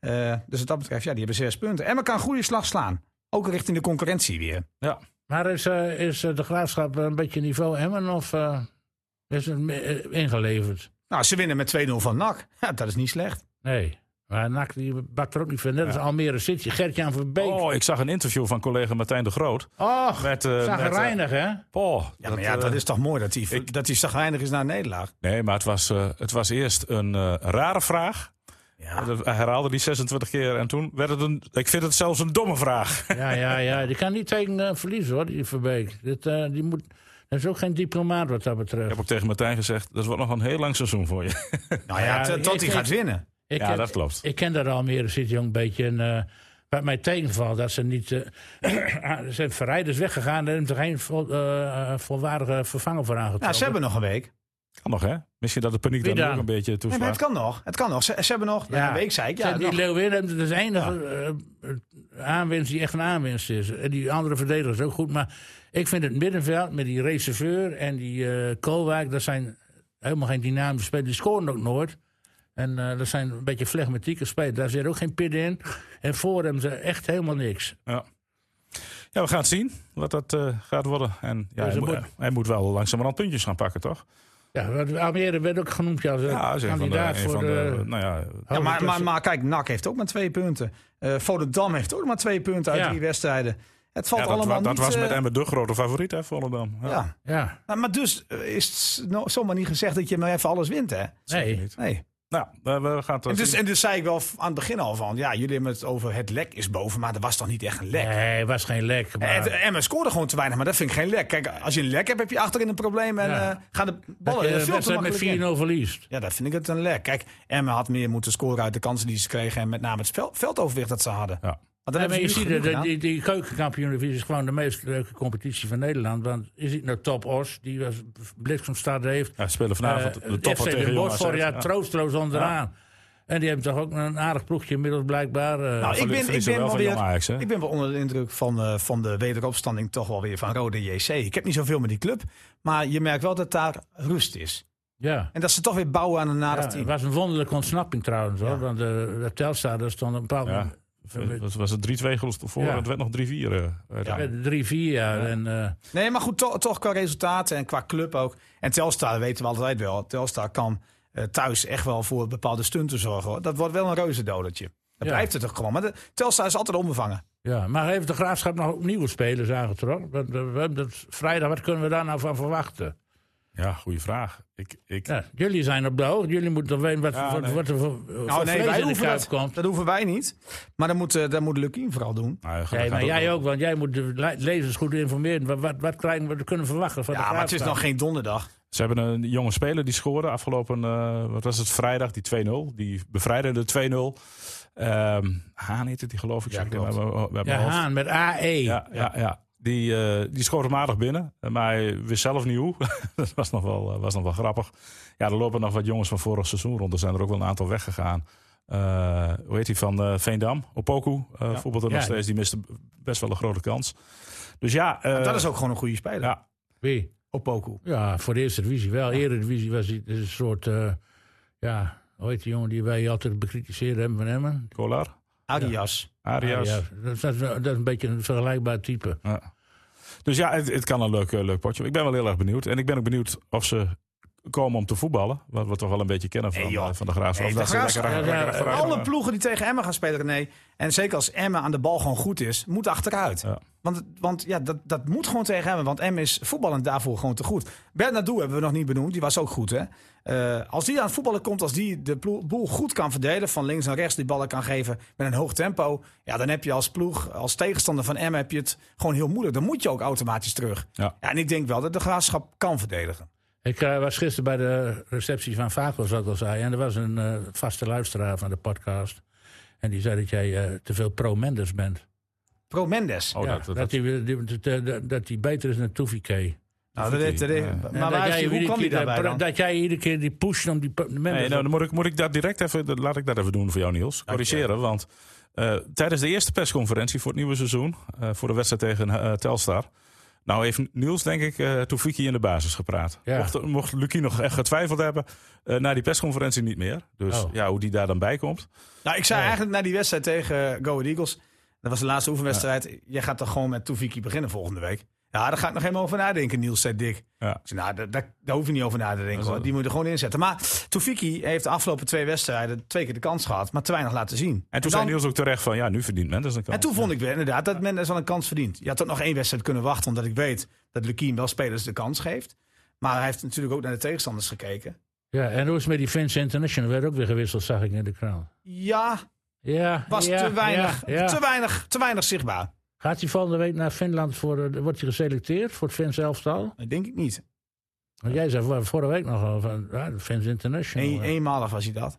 S4: Eh, dus wat dat betreft, ja, die hebben zes punten. Emmen kan een goede slag slaan. Ook richting de concurrentie weer.
S1: Ja.
S3: Maar is, eh, is eh, de graafschap een beetje niveau Emmen of eh, is het me- eh, ingeleverd?
S4: Nou, ze winnen met 2-0 van NAC. Ja, dat is niet slecht.
S3: Nee. Maar NAC die bakt er ook niet van. Net als Almere City. Gert-Jan Verbeek.
S1: Oh, ik zag een interview van collega Martijn de Groot.
S3: Och,
S1: Met, eh, met, eh,
S3: zagrijnig hè?
S1: Paul.
S4: Ja, maar ja, dat
S1: eh,
S4: is toch mooi dat hij dat hij zagrijnig is na een nederlaag.
S1: Nee, maar het was, eh, het was eerst een eh, rare vraag.
S4: Ja.
S1: Hij herhaalde die 26 keer en toen werd het een... Ik vind het zelfs een domme vraag.
S3: Ja, ja, ja. Die kan niet tegen eh, verliezen hoor, die Verbeek. Dit, eh, die moet, dat is ook geen diplomaat wat dat
S1: Ik
S3: betreft.
S1: heb ook tegen Martijn gezegd, dat wordt nog een heel lang seizoen voor je.
S4: Nou ja,
S3: Ja,
S4: t- tot
S3: ik-
S4: hij
S3: ik-
S4: gaat winnen.
S3: Ik
S1: Ja,
S3: ken-
S1: dat klopt.
S3: Ik ken daar Almere City ook een beetje. En, eh, wat mij tegenvalt, dat ze niet... eh, ah, er zijn verrijders weggegaan en er is er geen vol, eh, eh, volwaardige vervanger voor aangetrokken.
S4: Nou, ze hebben nog een week.
S1: Kan nog, hè? Misschien dat de paniek
S3: Wie
S1: daar ook
S3: dan?
S1: een beetje
S4: Nee, maar het
S1: toeslaat.
S4: kan nog. Het kan nog. Ze, ze hebben nog
S3: Ja.
S4: een week, zei ik.
S3: Zijn
S4: Ja,
S3: die
S4: nog.
S3: Leeuwin, dat is de enige eh, aanwinst die echt een aanwinst is. En die andere verdediger is ook goed. Maar ik vind het middenveld met die reserveur en die eh Koolwijk... dat zijn helemaal geen dynamische spelers. Die scoren ook nooit. En eh, dat zijn een beetje flegmatieke spelers. Daar zit ook geen pit in. En voor hem ze echt helemaal niks.
S1: Ja. ja, we gaan het zien wat dat eh, gaat worden. En ja, hij,
S3: Dus het
S1: moet,
S3: moet-
S1: eh, hij moet wel langzamerhand puntjes gaan pakken, toch?
S3: Ja, want Almere werd ook genoemd ja, als eh,
S1: hij is een van de-
S3: kandidaat
S1: een
S3: voor
S1: van
S3: de...
S1: de- nou ja,
S4: Ja, maar, maar,
S3: hoofdklasse.
S4: maar kijk, NAC heeft ook maar twee punten. Eh Volendam heeft ook maar twee punten uit
S3: Ja.
S4: drie wedstrijden. Het valt
S1: ja, dat,
S4: allemaal
S1: wa- dat
S4: niet...
S1: was
S4: eh,
S1: met Emmen de grote favoriet, hè, Volendam. Ja.
S4: ja.
S3: Ja,
S4: Nou, maar dus eh, is het s- no- zomaar niet gezegd dat je maar even alles wint, hè?
S3: nee.
S4: Nee.
S1: Nou, eh, we gaan het
S4: En
S1: wel
S4: dus,
S1: zien.
S4: en dus zei ik wel v- aan het begin al van... Ja, jullie hebben het over het lek is boven, maar er was toch niet echt een lek?
S3: Nee, was geen lek.
S4: En
S3: Maar... eh,
S4: Emma scoorde gewoon te weinig, maar dat vind ik geen lek. Kijk, als je een lek hebt, heb je achterin een probleem en
S3: Ja.
S4: eh, gaan de
S3: Dat
S4: ballen
S3: je
S4: eh,
S3: de
S4: veel te
S3: wedstrijd met 4-0
S4: makkelijk in.
S3: verliest.
S4: Ja, dat vind ik het een lek. Kijk, Emma had meer moeten scoren uit de kansen die ze kregen... en met name het vel- veldoverwicht dat ze hadden.
S1: Ja.
S4: Want dan
S3: Ja, maar je
S4: hebben ze
S3: ziet,
S4: nu
S3: dat
S4: genoeg
S3: eh, die, die keukenkampioen-divisie is gewoon de meest leuke competitie van Nederland. Want je ziet nou Top Os, die was bliksemstart heeft.
S1: Ja, we spelen vanavond
S3: Eh,
S1: de topper
S3: FC
S1: tegen
S3: Den
S1: Jong
S3: Bosch
S1: AZ.
S3: vorig jaar
S1: Ja.
S3: troosteloos onderaan. En die hebben toch ook een aardig ploegje inmiddels blijkbaar. eh,
S4: Nou, ik
S1: verlie-
S4: ben, ik
S1: verliezen
S4: ben
S1: wel
S4: wel
S1: van
S4: weer,
S1: Jong Ajax, hè?
S4: ik ben wel onder de indruk van, eh, van de wederopstanding toch wel weer van Rode JC. Ik heb niet zoveel met die club, maar je merkt wel dat daar rust is.
S3: ja.
S4: En dat ze toch weer bouwen aan een
S3: Ja,
S4: aardig
S3: het
S4: team.
S3: was een wonderlijke ontsnapping trouwens. Hoor,
S4: Ja.
S3: Want eh, de, de Telstar, daar stond een bepaald
S1: Ja. Dat was het 3-2 geloof ik voor
S3: Ja.
S1: en het werd nog 3-4. eh, uiteindelijk.
S3: Met drie, vier jaar. En, eh,
S4: Nee, maar goed, to- toch qua resultaten en qua club ook. En Telstar weten we altijd wel. Telstar kan eh, thuis echt wel voor bepaalde stunten zorgen. Hoor. Dat wordt wel een reuzendodertje. Dat
S3: Ja.
S4: blijft het toch gewoon. Maar de, Telstar is altijd onbevangen.
S3: ja. Maar heeft de Graafschap nog ook nieuwe spelers aangetrokken? Want, eh, we hebben dat vrijdag, wat kunnen we daar nou van verwachten?
S1: Ja, goede vraag. Ik, ik,
S3: Ja, jullie zijn op de hoogte. Jullie moeten toch weten wat,
S1: Ja,
S3: wat,
S1: nee.
S3: wat er voor, voor
S4: Nou, nee,
S3: vlees
S4: wij
S3: in de
S4: hoeven
S3: kuip
S4: dat,
S3: komt.
S4: dat hoeven wij niet. Maar dat moet, eh, dat moet Lukien vooral doen.
S1: nou, dat
S3: Nee,
S1: gaat
S3: maar jij
S1: wel-
S3: ook, want jij moet de le- lezers goed informeren. Wat, wat, wat krijgen we, we kunnen verwachten van de
S4: Ja, maar het is nog
S3: Graafschap.
S4: geen donderdag.
S1: Ze hebben een jonge speler die scoorde afgelopen, eh, wat was het, vrijdag, die 2-0. Die bevrijdende 2-0. Ehm Haan heette die geloof ik.
S4: Ja,
S1: zeg ik
S4: klopt.
S1: uit mijn- uit mijn
S3: Ja,
S1: hoofd.
S3: Haan met E. AE.
S1: Ja, ja, ja. Die, eh, die schoot hem aardig binnen. Maar hij wist zelf niet hoe. dat was nog, wel, eh, was nog wel grappig. Ja, er lopen nog wat jongens van vorig seizoen rond. Er zijn er ook wel een aantal weggegaan. Eh, hoe heet hij van eh, Veendam? Opoku eh bijvoorbeeld er nog
S3: Ja.
S1: steeds. Die miste best wel een grote kans. Dus ja... eh,
S4: dat is ook gewoon een goede speler.
S1: ja,
S3: Wie?
S4: Opoku.
S3: Ja, voor de eerste divisie wel. Eerder divisie was hij een soort... eh, ja, ooit die jongen die wij altijd bekritiseerd hebben van Emmen.
S1: Kolar,
S4: Arias.
S1: Arias.
S3: Ah, ja, dat, is, dat is een beetje een vergelijkbaar type.
S1: Ja. Dus ja, het, het kan een leuk, eh, leuk potje. Ik ben wel heel erg benieuwd. En ik ben ook benieuwd of ze komen om te voetballen. Wat we toch wel een beetje kennen van,
S4: Nee, joh.
S1: eh, van de Graafschap.
S4: Nee,
S1: Of
S4: de
S1: dat ze
S4: Graafschap-
S1: lekker-
S3: Ja, ja,
S1: lekker vooruit
S4: Alle
S1: gaan.
S4: ploegen die tegen Emmen gaan spelen, René. En zeker als Emmen aan de bal gewoon goed is, moet achteruit.
S1: Ja.
S4: Want, want ja, dat, dat moet gewoon tegen Emmen. Want Emmen is voetballend daarvoor gewoon te goed. Bernardo hebben we nog niet benoemd. Die was ook goed, hè? Eh, als die aan het voetballen komt, als die de plo- boel goed kan verdelen... van links naar rechts die ballen kan geven met een hoog tempo... ja, dan heb je als ploeg, als tegenstander van Emmen... heb je het gewoon heel moeilijk. Dan moet je ook automatisch terug.
S1: Ja.
S4: en ik denk wel dat de Graafschap kan verdedigen.
S3: Ik eh, was gisteren bij de receptie van Vaco, zoals ik al zei. En er was een eh, vaste luisteraar van de podcast. En die zei dat jij eh, te veel pro-Mendes bent.
S4: Pro Mendes.
S1: Oh,
S3: Ja,
S1: dat, dat,
S3: dat, hij weer- die, dat- dat- dat- dat hij beter is dan Toefiké.
S4: Nou, dat, dat- dat-
S1: Ja.
S4: Maar waar is die, hoe kwam die daarbij dan?
S3: Dat jij iedere keer die push om die pro- Mendes...
S1: Nee, nou, dan moet ik, moet ik dat direct even, dat- laat ik dat even doen voor jou, Niels. Corrigeren, want eh, tijdens de eerste persconferentie voor het nieuwe seizoen, eh, voor de wedstrijd tegen eh, Telstar, nou heeft Niels, denk ik, eh Toefiki in de basis gepraat.
S3: Ja.
S1: Mocht, mocht Lucie nog echt getwijfeld hebben, eh, na die persconferentie niet meer. Dus
S3: Oh.
S1: ja, hoe die daar dan bij komt.
S4: Nou, ik zei eigenlijk na die wedstrijd tegen eh, Go Ahead Eagles. Dat was de laatste oefenwedstrijd. Jij gaat toch gewoon met Toefiki beginnen volgende week? Ja, daar ga ik nog helemaal over nadenken, Niels, zei Dick.
S1: Ja.
S4: Ik zei, nou, daar, daar, daar hoef je niet over na te denken. Hoor. Die moet je er gewoon inzetten. Maar Toefiki heeft de afgelopen twee wedstrijden twee keer de kans gehad, maar te weinig laten zien.
S1: En toen
S4: dan-
S1: zei Niels ook terecht van, ja, nu verdient men. Dus dan kan
S4: en toen vond ik weer inderdaad dat Mendes al een kans verdient. Je had toch nog één wedstrijd kunnen wachten, omdat ik weet dat Lukien wel spelers de kans geeft. Maar hij heeft natuurlijk ook naar de tegenstanders gekeken.
S3: Ja, en hoe is het met die Fans International? Werd ook weer gewisseld, zag ik in de krant.
S4: Ja,
S3: Ja,
S4: was
S3: ja,
S4: te, weinig,
S3: ja, ja.
S4: Te, weinig, te weinig zichtbaar.
S3: Gaat hij volgende week naar Finland voor, eh, wordt hij geselecteerd voor het Fins elftal?
S4: Dat denk ik niet.
S3: Want jij zei voor- vorige week nog al van ja, de Fins International.
S4: Eén,
S3: eh.
S4: eenmalig was hij dat.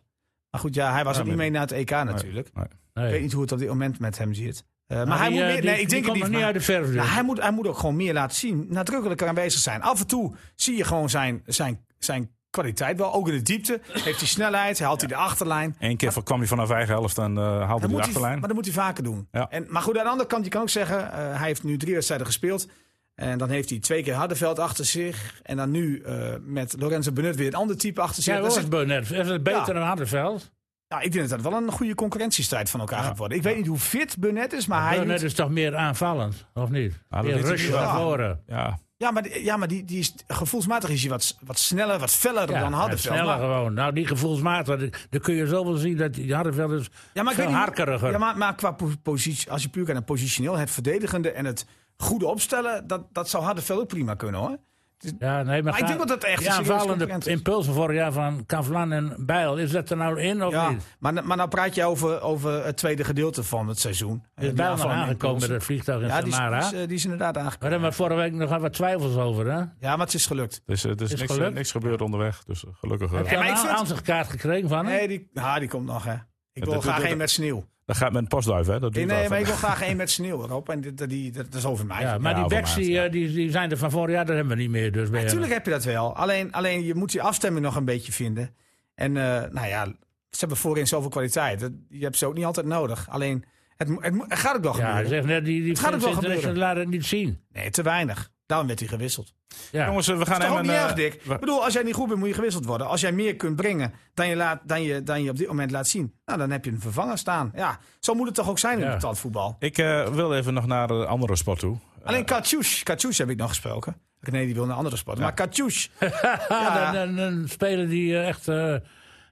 S4: Maar goed, ja, hij was
S1: Ja,
S4: ook niet
S1: maar-
S4: mee naar het EK natuurlijk. Ik weet
S3: nee.
S4: niet hoe het op dit moment met hem zit. Eh, maar,
S3: Maar
S4: hij
S3: die,
S4: moet
S3: eh,
S4: meer,
S3: die-
S4: nee, ik
S3: die
S4: denk het
S3: komt
S4: niet.
S3: nog niet
S4: maar-
S3: uit de verf.
S4: Nou,
S3: dus.
S4: hij, moet, hij moet ook gewoon meer laten zien. Nadrukkelijker aanwezig zijn. Af en toe zie je gewoon zijn, zijn, zijn kwaliteit wel. Ook in de diepte. Heeft hij snelheid. Haalt hij de achterlijn.
S1: Eén keer van- kwam hij vanaf eigen helft en eh, haalde
S4: Dat
S1: hij de
S4: moet hij,
S1: achterlijn.
S4: maar dat moet hij vaker doen.
S1: Ja.
S4: En, maar goed, aan de andere kant, je kan ook zeggen... eh, hij heeft nu drie wedstrijden gespeeld. En dan heeft hij twee keer Hardenveld achter zich. En dan nu eh, met Lorenzo Benut weer een ander type achter zich.
S3: Ja,
S4: Dat
S3: dat
S4: is-
S3: is Burnett. Is het beter
S4: Ja.
S3: dan Hardenveld?
S4: nou, ik denk dat dat wel een goede concurrentiestrijd van elkaar gaat worden. Ik weet niet hoe fit Benut is, maar hij...
S3: Burnett
S4: doet-
S3: is toch meer aanvallend, of niet?
S1: dat
S3: meer
S1: weet ik
S3: rustig
S1: niet.
S3: naar
S4: Ja.
S3: voren.
S1: Ja,
S4: ja, maar, die- ja, maar die, die is, gevoelsmatig is hij wat, wat sneller, wat feller
S3: Ja,
S4: dan
S3: en
S4: Hardenveld.
S3: sneller
S4: Maar-
S3: gewoon. Nou, die gevoelsmatig, dan kun je zo wel zien dat die Hardenveld is
S4: Ja, maar ik weet
S3: veel
S4: niet-
S3: harkeriger.
S4: Ja, maar, maar qua po- positie, als je puur kijkt naar positioneel, het verdedigende en het goede opstellen, dat, dat zou Hardenveld ook prima kunnen hoor.
S3: Ja, nee, maar,
S4: ik
S3: ga-
S4: denk dat dat echt
S3: die
S4: een serieuze
S3: aanvallende
S4: concurrent is.
S3: impulsen vorig jaar van Kavlan en Bijl. Is dat er nou in of
S4: Ja,
S3: niet?
S4: maar, maar nou praat je over, over het tweede gedeelte van het seizoen.
S3: Er
S4: Eh,
S3: Is
S4: die
S3: Bijl nog
S4: aanval-
S3: aangekomen met het vliegtuig in
S4: Ja, die is, die,
S3: Samara?
S4: is, eh, die is inderdaad
S3: We
S4: aangekomen.
S3: hadden maar vorige week nog wat twijfels over, hè?
S4: Ja, maar het is gelukt.
S1: dus er is,
S3: Is
S1: niks,
S3: gelukt?
S1: niks gebeurd onderweg. Dus eh, gelukkig. eh,
S3: Heb je
S4: maar
S3: een
S4: ik
S3: aan-
S4: vind-
S3: aanzichtkaart gekregen van hem?
S4: Nee, die, ah, die komt nog hè. Ik wil
S1: dat-
S4: graag
S1: dat-
S4: één met sneeuw.
S1: Dat gaat met een postduif, hè? Dat
S4: Nee,
S1: duurt
S4: nee,
S1: wel
S4: maar ik
S1: even.
S4: wil graag één met sneeuw erop. En die, die, die- dat is over mij.
S3: ja, maar
S1: Ja,
S3: die
S1: over
S3: backs
S1: maand,
S3: die,
S1: ja.
S3: eh, die, die zijn er van vorig jaar, dat hebben we niet meer. Dus bij
S4: Natuurlijk heb je dat wel. Alleen, alleen je moet die afstemming nog een beetje vinden. En eh, nou ja, ze hebben voorin zoveel kwaliteit. Dat- Je hebt ze ook niet altijd nodig. Alleen, het, mo- het, mo- het gaat ook wel
S3: ja, hij
S4: gebeuren.
S3: zegt net, die, die
S4: Het gaat ook wel
S3: Fans International laten het niet zien.
S4: Nee, te weinig. Daarom werd hij gewisseld.
S3: Ja.
S1: Jongens, eh, we gaan
S4: Dat is toch ook
S1: hem
S4: niet
S1: een,
S4: erg,
S1: eh,
S4: Dick?
S1: we-
S4: Ik bedoel, als jij niet goed bent, moet je gewisseld worden. Als jij meer kunt brengen dan je, laat, dan je, dan je op dit moment laat zien... Nou, dan heb je een vervanger staan. Ja, zo moet het toch ook zijn in
S3: Ja.
S4: betaald voetbal.
S1: Ik eh, wil even nog naar een andere sport toe.
S4: Alleen Katsjoes, Katsjoes heb ik nog gesproken. Nee, die wil naar andere sport. Maar Katsjoes,
S3: Ah,
S4: ja,
S3: dan- dan- dan spelen die eh, echt eh,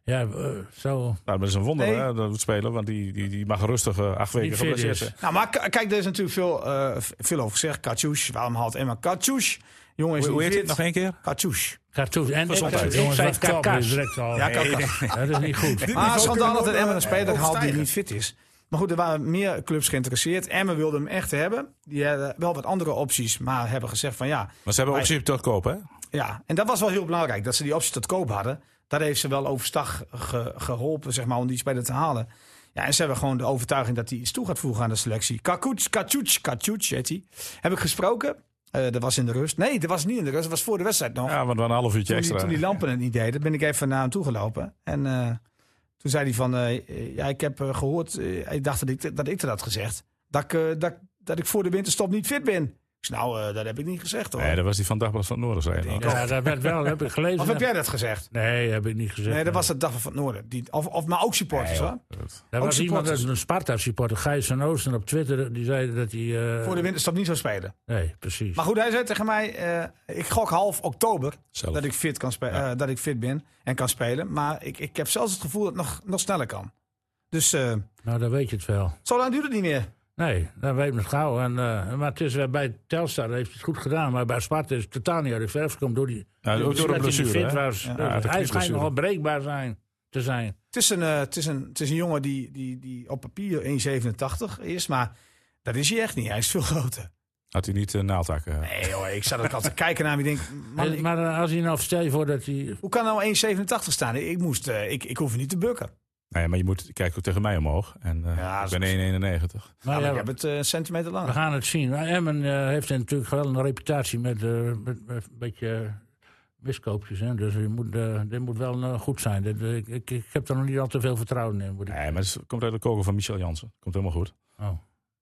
S3: ja, eh, zo...
S1: Nou, dat is een wonder
S4: Nee.
S1: hè, dat moet spelen, want die, die, die mag rustig eh, acht weken
S3: Niet fit
S1: geblesseerd
S3: is.
S1: zijn.
S4: Nou, maar k- kijk, er is natuurlijk veel, eh, v- veel over gezegd. Katsjoes, waarom haalt Emma Katsjoes? Jongen is
S1: Hoe, hoe
S4: niet
S1: heet het
S4: fit.
S1: nog één keer?
S4: Katsjoes.
S3: Cartoons. En ik,
S1: Gezondheid,
S3: ik,
S5: jongens,
S3: zei
S5: wat klappen
S3: kakas.
S5: is
S3: direct al.
S4: Ja, Kakas.
S3: dat is niet goed.
S4: Maar
S5: niveau
S4: schandaal
S5: kunnen
S4: dat
S5: we
S4: Emma een
S5: ook, eh,
S4: speler haalt die
S5: overstijgen.
S4: niet fit is. Maar goed, er waren meer clubs geïnteresseerd. Emmen wilde hem echt hebben. Die hadden wel wat andere opties, maar hebben gezegd van ja.
S1: Maar ze hebben
S4: Wij-
S1: optie tot kopen, hè?
S4: ja. En dat was wel heel belangrijk, dat ze die optie tot koop hadden. Daar heeft ze wel overstag ge- geholpen, zeg maar, om die speler te halen. Ja, en ze hebben gewoon de overtuiging dat hij iets toe gaat voegen aan de selectie. Kakuts, Kacuc, Kacuc heet hij. Heb ik gesproken. Eh, dat was in de rust. Nee, dat was niet in de rust. Dat was voor de wedstrijd nog.
S1: Ja, want we een half uurtje
S4: toen, die,
S1: extra.
S4: toen die lampen het niet deden, ben ik even naar hem toe gelopen. En eh, toen zei hij van, eh, eh, ja, ik heb eh, gehoord, eh, ik dacht dat ik, dat ik dat had gezegd. Dat ik, eh, dat, ik- dat ik voor de winterstop niet fit ben. Ik zei, nou, eh, dat heb ik niet gezegd hoor.
S1: Nee, dat was die van Dagblad van het Noorden, zei je nog.
S3: Ja, dat werd wel, heb ik gelezen.
S4: of heb jij dat gezegd?
S3: Nee, heb ik niet gezegd.
S4: Nee, dat was het dag van het Noorden. Die, of, of, maar ook supporters hoor.
S3: Er
S4: ook
S3: was iemand, dat
S4: supporters.
S3: is een Sparta-supporter, Gijs van Oosten, op Twitter, die zei dat hij... eh,
S4: Voor de winterstop niet zou spelen.
S3: Nee, precies.
S4: Maar goed, hij zei tegen mij, eh, ik gok half oktober
S1: Zelf.
S4: dat ik, fit kan spe- eh, dat ik fit ben en kan spelen. Maar ik, ik heb zelfs het gevoel dat het nog, nog sneller kan. Dus eh,
S3: Nou, dan weet je het wel.
S4: zo lang duurt het niet meer.
S3: Nee, dan weet men het gauw. En, eh, maar het is weer bij Telstar heeft hij het goed gedaan. Maar bij Sparta is het totaal niet uit de verf gekomen door die...
S1: Ja, ook door
S3: dat
S1: een
S3: hij niet
S1: blessure,
S3: fit
S1: hè?
S3: was.
S1: Ja, dat
S3: Dus hij
S1: knieblessure.
S3: schijnt nogal breekbaar zijn, te zijn.
S4: Het is een, eh, het is een, het is een jongen die, die, die op papier 1,87 is, maar dat is hij echt niet. Hij is veel groter.
S1: Had hij niet uh, naaldhakken. eh.
S4: Nee joh, ik zat ook altijd te kijken naar hem. Ik denk, man,
S3: Eh,
S4: ik-
S3: maar eh, als hij nou stel je voor dat hij...
S4: hoe kan nou 1,87 staan? Ik, moest, eh, ik, ik hoef niet te bukken.
S1: Nee, maar je moet kijken ook tegen mij omhoog. En, eh,
S4: Ja,
S1: ik
S4: dat is-
S1: ben 1,91.
S3: Maar
S4: Nou,
S3: ja,
S4: ik heb het eh, een centimeter
S3: we
S4: langer.
S3: gaan het zien. Maar Emmen eh, heeft natuurlijk wel een reputatie met, eh, met, met een beetje eh, miskoopjes. Hè? Dus je moet, eh, dit moet wel eh, goed zijn. Dit, eh, ik, ik, ik heb er nog niet al te veel vertrouwen in. Moet ik...
S1: Nee, maar het komt uit de kogel van Michel Jansen. Komt helemaal goed.
S3: Oh.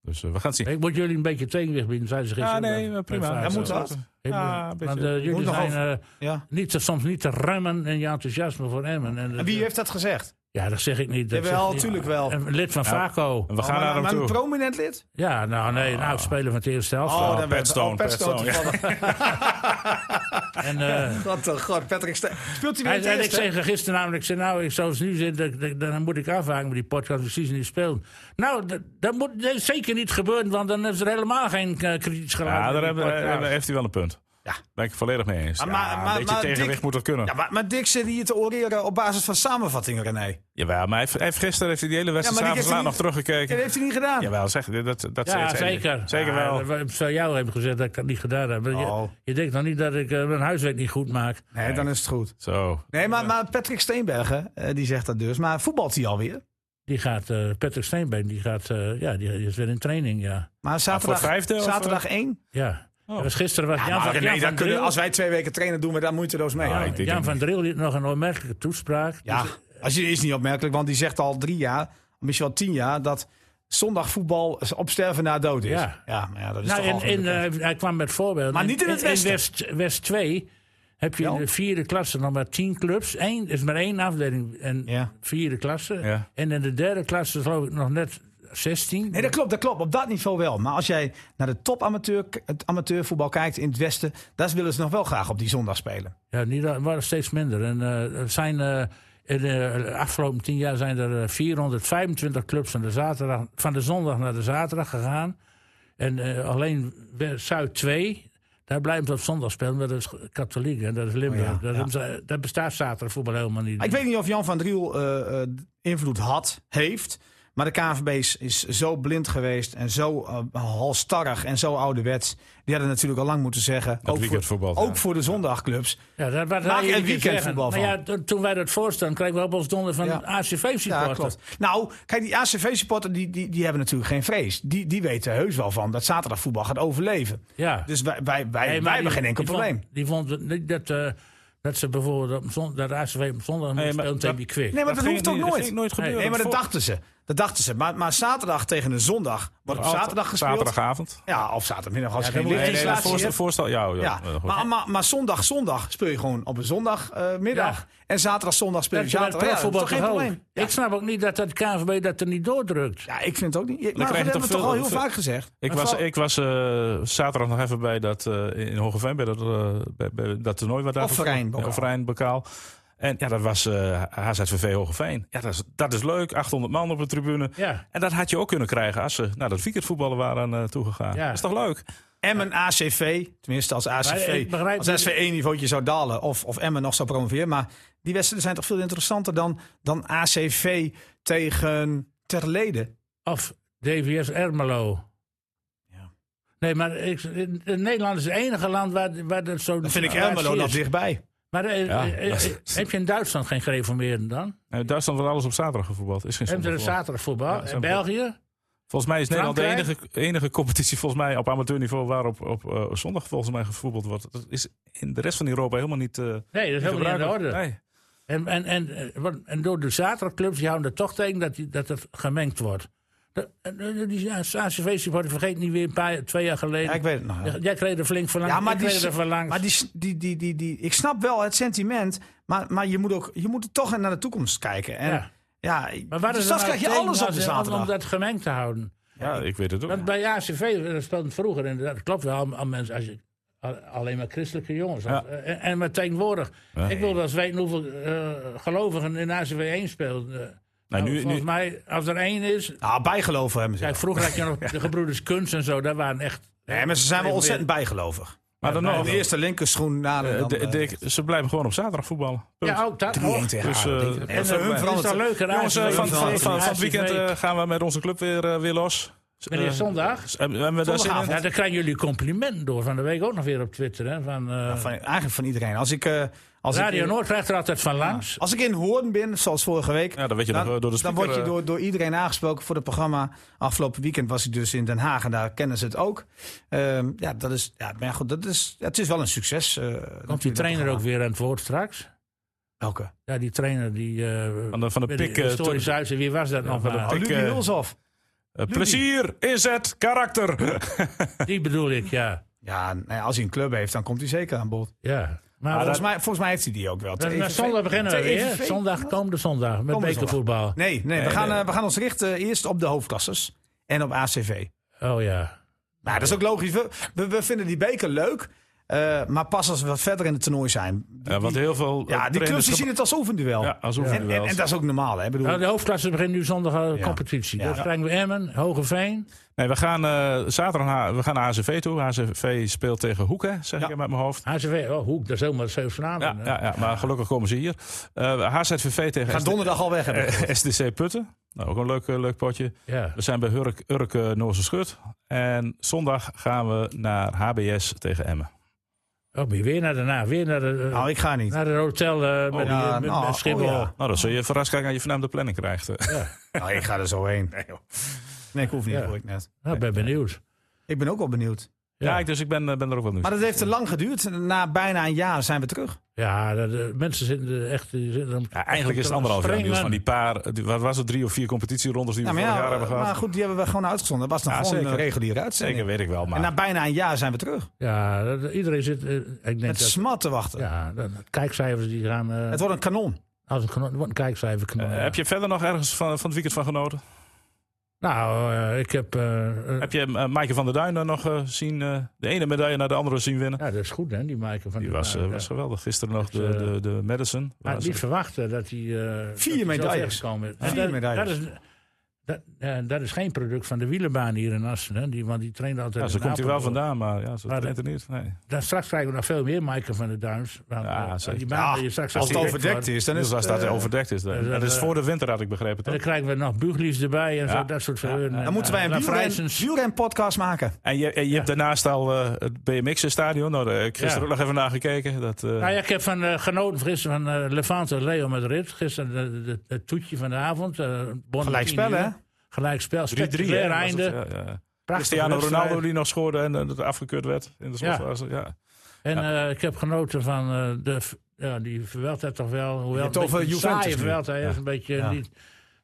S1: Dus eh, we gaan het zien.
S3: Ik moet jullie een beetje tegenwicht bieden, zeiden ze
S1: Ja,
S3: gisteren.
S1: nee, maar prima.
S3: Bij
S4: Dat eh, moet Oh,
S3: Feyenoord.
S4: wat.
S3: Ik moet-
S1: Ja, een beetje.
S3: want eh,
S4: Moet
S3: jullie
S4: nog
S3: zijn
S4: over-
S3: eh,
S4: Ja.
S3: niet, te- soms niet te remmen in je enthousiasme voor Emmen. En, dat-
S4: En wie heeft dat gezegd?
S3: Ja, dat zeg ik niet. Dat
S4: Jawel,
S3: zegt-
S4: tuurlijk wel.
S3: Een lid van Vaco.
S1: En we gaan
S4: Oh, maar-
S1: naar hem
S4: maar
S1: toe.
S4: een prominent lid?
S3: Ja, nou nee,
S1: Ah.
S3: een oud-speler van het eerste helft.
S4: Oh, dan
S1: Pat Stone,
S4: oh,
S1: Pat
S4: Pat Stone
S1: Stone, ja.
S4: toevallig.
S3: en, eh,
S4: God, oh god, Patrick Stone. Speelt hij
S3: hij,
S4: weer in
S3: en ik
S4: het eerste?
S3: zei gisteren namelijk, ik zei, nou, ik, zoals het nu zit, dat- dat- dan moet ik afhaken met die podcast precies niet speelt. Nou, dat, dat moet eh, zeker niet gebeuren, want dan is er helemaal geen eh, kritisch geluid.
S1: Ja, daar
S3: in die
S1: hebben,
S3: podcast.
S1: hebben- heeft hij wel een punt. Ja. Ben ik volledig mee eens. Ja,
S4: Maar- Ah, maar- maar-
S1: een beetje
S4: maar
S1: tegenwicht
S4: Dick-
S1: moet dat kunnen.
S4: Ja, maar, maar Dick zit hier te oreren op basis van samenvattingen, René.
S1: Jawel, maar hij heeft, hij heeft gisteren heeft hij die hele wedstrijd
S4: Ja, maar die
S1: s'avonds laat nog
S4: heeft
S1: teruggekeken.
S4: Dat heeft hij niet gedaan.
S1: Jawel, zeg, dat, dat
S3: Ja,
S1: zeker.
S3: zeker.
S1: Zeker
S3: Ja,
S1: wel.
S3: dat- Ik zou jou hebben gezegd dat ik dat niet gedaan heb. Je-
S4: Oh.
S3: Je, denkt dan niet dat ik eh, mijn huiswerk niet goed maak.
S4: Nee, dan is het goed.
S1: Zo.
S4: Nee, maar, maar Patrick Steenbergen, eh, die zegt dat dus. Maar voetbalt hij alweer?
S3: Die gaat, eh, Patrick Steenbeen, die, gaat, eh, ja, die, die is weer in training, ja.
S4: Maar zaterdag,
S1: voor vijfde, of,
S4: zaterdag 1?
S3: ja. Dat was gisteren was Jan,
S4: eh? maar
S3: van,
S4: René,
S3: Jan,
S4: daar
S3: van
S4: kunnen,
S3: Dril,
S4: als wij twee weken trainen, doen we daar moeiteloos mee.
S1: Ja,
S4: Ja,
S1: ik denk
S3: Jan
S1: het
S3: van Dril die had nog een opmerkelijke toespraak. Dus-
S4: als je is niet opmerkelijk, want die zegt al drie jaar, misschien wel tien jaar, dat zondag voetbal op sterven na dood is.
S3: Ja.
S4: maar ja, dat is
S3: nou,
S4: toch
S3: in,
S4: algemeen
S3: in,
S4: bekend.
S3: eh, hij kwam met voorbeelden.
S4: Maar niet in het Westen.
S3: West, West 2 heb je
S4: Ja.
S3: in de vierde klasse nog maar tien clubs. Eén, is maar één afdeling in
S4: Ja.
S3: vierde klasse.
S1: Ja.
S3: En in de derde klasse geloof ik nog net 16.
S4: Nee, dat klopt, dat klopt. Op dat niveau wel. Maar als jij naar de top amateur, het amateurvoetbal kijkt in het Westen, daar willen ze nog wel graag op die zondag spelen.
S3: Ja, niet, dat waren steeds minder. En eh, er zijn, eh, in de afgelopen tien jaar zijn er eh, 425 clubs van de, zaterdag, van de zondag naar de zaterdag gegaan. En eh, alleen West- Zuid 2, daar blijven ze op zondag spelen. Maar dat is katholiek en dat is Limburg.
S4: Oh ja,
S3: dat, is- dat bestaat zaterdagvoetbal helemaal niet.
S4: Ik weet niet of Jan van Driel eh, eh, invloed had, heeft. Maar de KNVB is, is zo blind geweest en zo eh, halstarrig en zo ouderwets. Die hadden natuurlijk al lang moeten zeggen. Ook voor,
S1: weekendvoetbal, ja.
S4: ook voor de zondagclubs.
S3: Ja, dat, wat
S4: Maak
S3: wil
S4: er
S3: niet
S4: weekendvoetbal
S3: zeggen? Maar ja, t- toen wij dat voorstelden, kregen we op ons donder van
S4: Ja. Ja,
S3: ACV-supporters.
S4: klopt. Nou, kijk, die ACV-supporter die, die, die hebben natuurlijk geen vrees. Die, die weten heus wel van dat zaterdagvoetbal gaat overleven.
S3: Ja,
S4: Dus wij, wij, wij,
S3: Nee, maar
S4: wij hebben
S3: die-
S4: geen enkel
S3: die
S4: probleem.
S3: Vond, die vond het niet dat, eh, dat ze bijvoorbeeld op zon, dat ACV op zondag
S1: Nee,
S3: nee,
S1: maar
S3: speelt
S1: dat-
S3: tegen die kwik.
S4: Nee, maar dat,
S1: ging
S4: hoeft ook
S1: niet-
S4: nooit.
S1: ging nooit gebeuren.
S4: Nee, maar dat
S1: Voor-
S4: dachten ze. Dat dachten ze. Maar, maar zaterdag tegen een zondag wordt op
S1: Altijd-
S4: zaterdag gespeeld.
S1: Zaterdagavond.
S4: Ja, of zaterdagmiddag als je
S3: dan
S4: geen
S3: moet je-
S1: Nee, nee, dat
S4: lichtinstallatie
S1: voorstel,
S4: hebt.
S1: voorstel. Ja, ja,
S4: Ja,
S1: eh, goed.
S4: maar, maar, maar zondag, zondag speel je gewoon op een zondagmiddag.
S3: Ja.
S4: En zaterdag, zondag speel je
S3: dat je bij het
S4: zaterdag. Ja, dat is
S3: profvoetbal
S4: toch geen
S3: toch ook.
S4: probleem? Ja.
S3: Ik snap ook niet dat dat KNVB dat er niet doordrukt.
S4: Ja, ik vind het ook niet. Maar dat
S1: krijg je
S4: hebben we
S1: toch
S4: toch al
S1: veel-
S4: heel
S1: veel-
S4: vaak gezegd.
S1: Ik
S4: Maar
S1: was,
S4: vooral-
S1: ik was eh, zaterdag nog even bij dat eh, in Hogeveen, bij dat, eh, bij, bij dat toernooi waar daar
S4: Offerijnbokaal.
S1: Ja, Offerijnbokaal. En ja, dat was eh HZVV Hogeveen. Ja, dat is, dat is leuk. 800 man op de tribune.
S3: Ja.
S1: En dat had je ook kunnen krijgen als ze naar dat weekendvoetballen waren eh, toegegaan.
S3: Ja.
S1: Dat is toch leuk?
S4: Emmen ACV, tenminste als
S3: Maar
S4: ACV,
S3: ik begrijp
S4: als
S3: niet-
S4: SV 1 niveautje zou dalen of, of Emmen nog zou promoveren. Maar die wedstrijden zijn toch veel interessanter dan, dan ACV tegen Terleden.
S3: Of DVS Ermelo.
S4: Ja.
S3: Nee, maar ik, in- in Nederland is het enige land waar, waar dat zo...
S4: Dan vind ik
S3: waar
S4: Ermelo
S3: het
S4: nog
S3: is.
S4: dichtbij.
S3: Maar eh,
S1: Ja,
S3: eh, eh,
S1: dat-
S3: heb je in Duitsland geen gereformeerden dan?
S1: Eh, Duitsland wordt alles op zaterdag gevoetbald. Is geen
S3: Heb je er
S1: zondagvoetbal.
S3: zaterdagvoetbal?
S1: Ja,
S3: En
S1: zo'n-
S3: België?
S1: Volgens mij is Nederland de enige,
S3: Frankrijk?
S1: enige competitie volgens mij op amateurniveau waarop op eh, zondag volgens mij gevoetbald wordt. Dat is in de rest van Europa helemaal niet. eh
S3: Nee, dat is helemaal niet in de orde.
S1: Nee.
S3: En, en, en, eh, wat- en door de zaterdagclubs die houden er toch tegen dat, die, dat het gemengd wordt. Dat, en, eh, die ACV-supporter vergeet niet weer een paar, twee jaar geleden.
S4: Ja, ik weet het nog.
S3: Jij- Jij kreeg er flink van langs.
S4: Ja, maar
S3: ik
S4: die,
S3: kreeg er van langs.
S4: maar die, die, die, die, die, ik snap wel het sentiment, maar, maar je moet ook je moet toch naar de toekomst kijken. En, ja.
S3: Ja.
S4: maar
S3: maar waar
S4: dus
S3: is
S4: dat
S3: er nou
S4: krijg je
S3: tegen
S4: alles op
S3: als-
S4: de
S3: Om, om
S4: zaterdag.
S3: dat gemengd te houden.
S1: Ja, ik weet het ook.
S3: Want bij ACV eh, dat speelde het vroeger inderdaad. Dat klopt wel. al- al mensen, als je, al- alleen maar christelijke jongens.
S1: Ja.
S3: En, en maar tegenwoordig. Ik wil wel eens weten hoeveel eh, gelovigen in ACV 1 speelden.
S1: Nou,
S3: Nou,
S1: nu-
S3: volgens
S1: nu-
S3: mij, als er één is,
S4: Nou, bijgeloven hebben ze.
S3: Kijk, vroeger had je nog de gebroeders Kunst en zo, daar waren echt.
S4: Nee, maar ze zijn wel ontzettend bijgelovig.
S1: maar dan nog.
S4: De eerste linkerschoen na
S1: eh,
S4: dan,
S1: de-
S4: eh,
S1: Dick, ze blijven gewoon op zaterdag voetballen. Punt.
S3: Ja, ook dat. Oh,
S4: 3-1
S3: ook.
S4: tegen
S1: Dus,
S4: Aden,
S1: eh,
S4: denk ik. En voor
S3: eh,
S4: Oh. hun
S3: het is
S4: verandert
S3: toch
S4: het.
S3: leuker
S1: Jongens, eh, van,
S4: ACV.
S1: van, van, van het
S3: ACV.
S1: weekend eh, gaan we met onze club weer, eh, weer los.
S3: Meneer
S1: Eh,
S3: Zondag.
S1: s- hebben we- hebben we daar zin in?
S3: Ja, daar krijgen jullie complimenten door van de week ook nog weer op Twitter. Hè, van, eh,
S4: Van, eigenlijk van iedereen. Als ik, eh, als ik,
S3: Radio
S4: in-
S3: Noord krijgt er altijd van langs.
S4: als ik in Hoorn ben, zoals vorige week,
S1: Ja, dan weet je nog,
S4: dan,
S1: eh, door de
S4: dan
S1: speaker.
S4: word je
S1: eh,
S4: door, door iedereen aangesproken voor het programma. Afgelopen weekend was ik dus in Den Haag en daar kennen ze het ook. Ehm, ja, dat is, ja, maar goed, dat is, ja, het is wel een succes. eh,
S3: Komt die
S4: natuurlijk,
S3: trainer
S4: dat
S3: ook weer aan het woord straks?
S4: programma. Welke?
S3: Ja, die trainer die. eh,
S1: Van de- van de
S3: weet ik,
S1: pik, eh,
S3: historisch
S1: toen-
S3: huis, en wie was dat nog?
S1: van de
S3: maar?
S1: pik. Ik,
S4: Lucie
S1: eh,
S4: Hulshoff.
S1: eh, plezier is het karakter.
S3: die bedoel ik, ja.
S4: Ja, nou ja, als hij een club heeft, dan komt hij zeker aan bod.
S3: ja. Maar
S4: volgens,
S3: volgens
S4: mij, volgens mij heeft hij die ook wel.
S3: mij-
S4: Te
S3: maar
S4: EVV
S3: zondag beginnen we
S4: te
S3: weer.
S4: EVV?
S3: Zondag, komende zondag. Met
S4: E Komende
S3: bekervoetbal.
S4: Nee, nee, we,
S1: Nee,
S4: gaan,
S1: nee.
S4: eh, we gaan ons richten eerst op de hoofdklassers en op ACV.
S3: Oh ja.
S4: Nou, dat is ook logisch. We, we, we vinden die beker leuk. Eh, maar pas als we wat verder in het toernooi zijn. Die-
S1: Ja, want
S4: die-
S1: heel veel. eh,
S4: ja, die clubs
S1: trainers-
S4: die zien het als oefenduel.
S1: Ja, als
S4: en, en,
S1: oefenduels.
S4: en dat is ook normaal. Hè? Ik Bedoel,
S3: Nou, de hoofdklasse begint nu zondag eh,
S4: Ja.
S3: competitie.
S4: Ja.
S3: Dan krijgen we Emmen, Hogeveen.
S1: Nee, we gaan eh, zaterdag naar, we gaan naar HCV toe. HCV speelt tegen Hoeken, zeg
S4: Ja.
S1: ik even uit mijn hoofd.
S3: HCV, oh Hoek, dat is helemaal
S1: Ja,
S3: Zeeuws-Vanavond. hè?
S1: ja, ja, maar gelukkig komen ze hier. Eh HZVV tegen
S4: gaan
S1: SD
S4: donderdag al weg hebben.
S1: eh, SDC Putten. Nou, ook een leuk, eh, leuk potje.
S3: Ja.
S1: We zijn bij Hurk, Urk eh, Noorse Schut. En zondag gaan we naar HBS tegen Emmen.
S3: Oh, ben je weer naar daarna, weer naar de, eh,
S4: Nou, ik ga niet.
S3: naar de hotel eh, met, die,
S4: ja,
S3: eh, met-
S4: nou,
S3: met Schiphol.
S4: oh, ja.
S1: Nou, dan zul je verrast kijken als je vanavond de planning krijgt. eh.
S4: Nou, ik ga er zo heen. Nee, ik hoef niet,
S3: Ja.
S4: hoor ik net.
S3: Nou, ik ben benieuwd.
S4: Ik ben ook wel benieuwd.
S1: Ja,
S3: Ja.
S1: ik- dus ik ben, eh, ben er ook wel nu.
S4: Maar dat heeft te lang geduurd. Na bijna een jaar zijn we terug.
S3: Ja, de, de mensen zitten er echt... die zitten om-
S1: Ja, eigenlijk is het anderhalf jaar
S3: Springen.
S1: nieuws van die paar, eh, die- wat was het, drie of vier competitierondes die we
S4: Ja, maar,
S1: vorig jaar
S4: ja,
S1: hebben gehad.
S4: maar goed, die hebben we gewoon uitgezonden. Dat was nog
S1: Ja,
S4: gewoon eh,
S1: zeker.
S4: een reguliere uitzending.
S1: Zeker weet ik wel, maar...
S4: En na bijna een jaar zijn we terug.
S3: Ja, dat- iedereen zit... eh, ik denk
S4: Met
S3: dat...
S4: smat te wachten.
S3: Ja, dat- dat kijkcijfers die gaan... eh,
S4: Het wordt een kanon.
S3: als een, kanon- wordt een kijkcijfer kanon,
S1: Eh,
S3: ja.
S1: Heb je verder nog ergens van, van het weekend van genoten?
S3: Nou, eh, ik heb... eh, eh,
S1: Heb je eh, Maaike van der Duin eh, nog eh, zien, eh, de ene medaille naar de andere zien winnen?
S3: ja, dat is goed, hè, die Michael van
S1: Die
S3: der
S1: was,
S3: Vaart,
S1: eh,
S3: ja.
S1: was geweldig. Gisteren nog de,
S3: Dus, eh,
S1: de, de Madison.
S3: Maar
S1: Waar ze-
S3: niet verwachten dat hij... eh, dat hij zo
S4: medailles.
S3: vergekomen is.
S4: Vier
S3: En dat-
S4: medailles.
S3: Dat is, dat, eh, dat is geen product van de wielerbaan hier in Assen. Hè? Die, want die traint altijd
S1: Ja, ze
S3: in
S1: komt hier wel
S3: Apeldoorn.
S1: vandaan, maar ja, ze
S3: Maar
S1: traint er niet. Nee.
S3: Dan straks krijgen we nog veel meer Michael van der Duins. Want,
S1: Ja,
S3: eh,
S1: zeker.
S3: die baan
S4: Ja,
S3: die je straks
S4: Als het
S3: afdekt
S4: overdekt
S3: wordt.
S4: is, dan is
S1: Dus
S4: het...
S1: als dat
S4: eh,
S1: overdekt is. Dan.
S3: dus
S1: Dat
S3: dat,
S1: is
S3: eh,
S1: voor de winter, had ik begrepen.
S3: En
S1: Toch?
S3: dan krijgen we nog Buglies erbij en
S1: Ja.
S3: zo, dat soort
S1: Ja.
S3: verheuren.
S4: Dan moeten wij een
S3: En
S4: wielren,
S3: Vrijsens.
S4: wielren-podcast maken.
S1: En je, en je hebt daarnaast al eh, het BMX-stadion. Nou, daar heb ik gisteren
S3: Ja.
S1: ook nog even naar gekeken. Dat, eh,
S3: Nou ja, ik heb van eh, genoten gisteren van eh, Levante Leo Madrid. Gisteren de- de- het toetje van de avond. eh, Bonn
S4: Gelijk
S3: 10
S4: spellen,
S3: uur.
S4: hè?
S3: Gelijkspel.
S1: 3-3. hè,
S3: Spectaculair
S1: was het,
S3: einde.
S1: ja, ja.
S3: Prachtige
S1: Cristiano Ronaldo
S3: wedstrijd.
S1: die nog schoorde en eh, dat afgekeurd werd. In de
S3: Ja.
S1: slotfase, ja.
S3: En eh, ik heb genoten van eh, de... v- Ja, die verweltheid toch wel. Hoewel
S4: hebt
S3: een
S4: over
S3: beetje
S4: Juventus
S3: saaie
S4: nu.
S3: verweldheid is een beetje...
S4: Ja.
S3: Niet,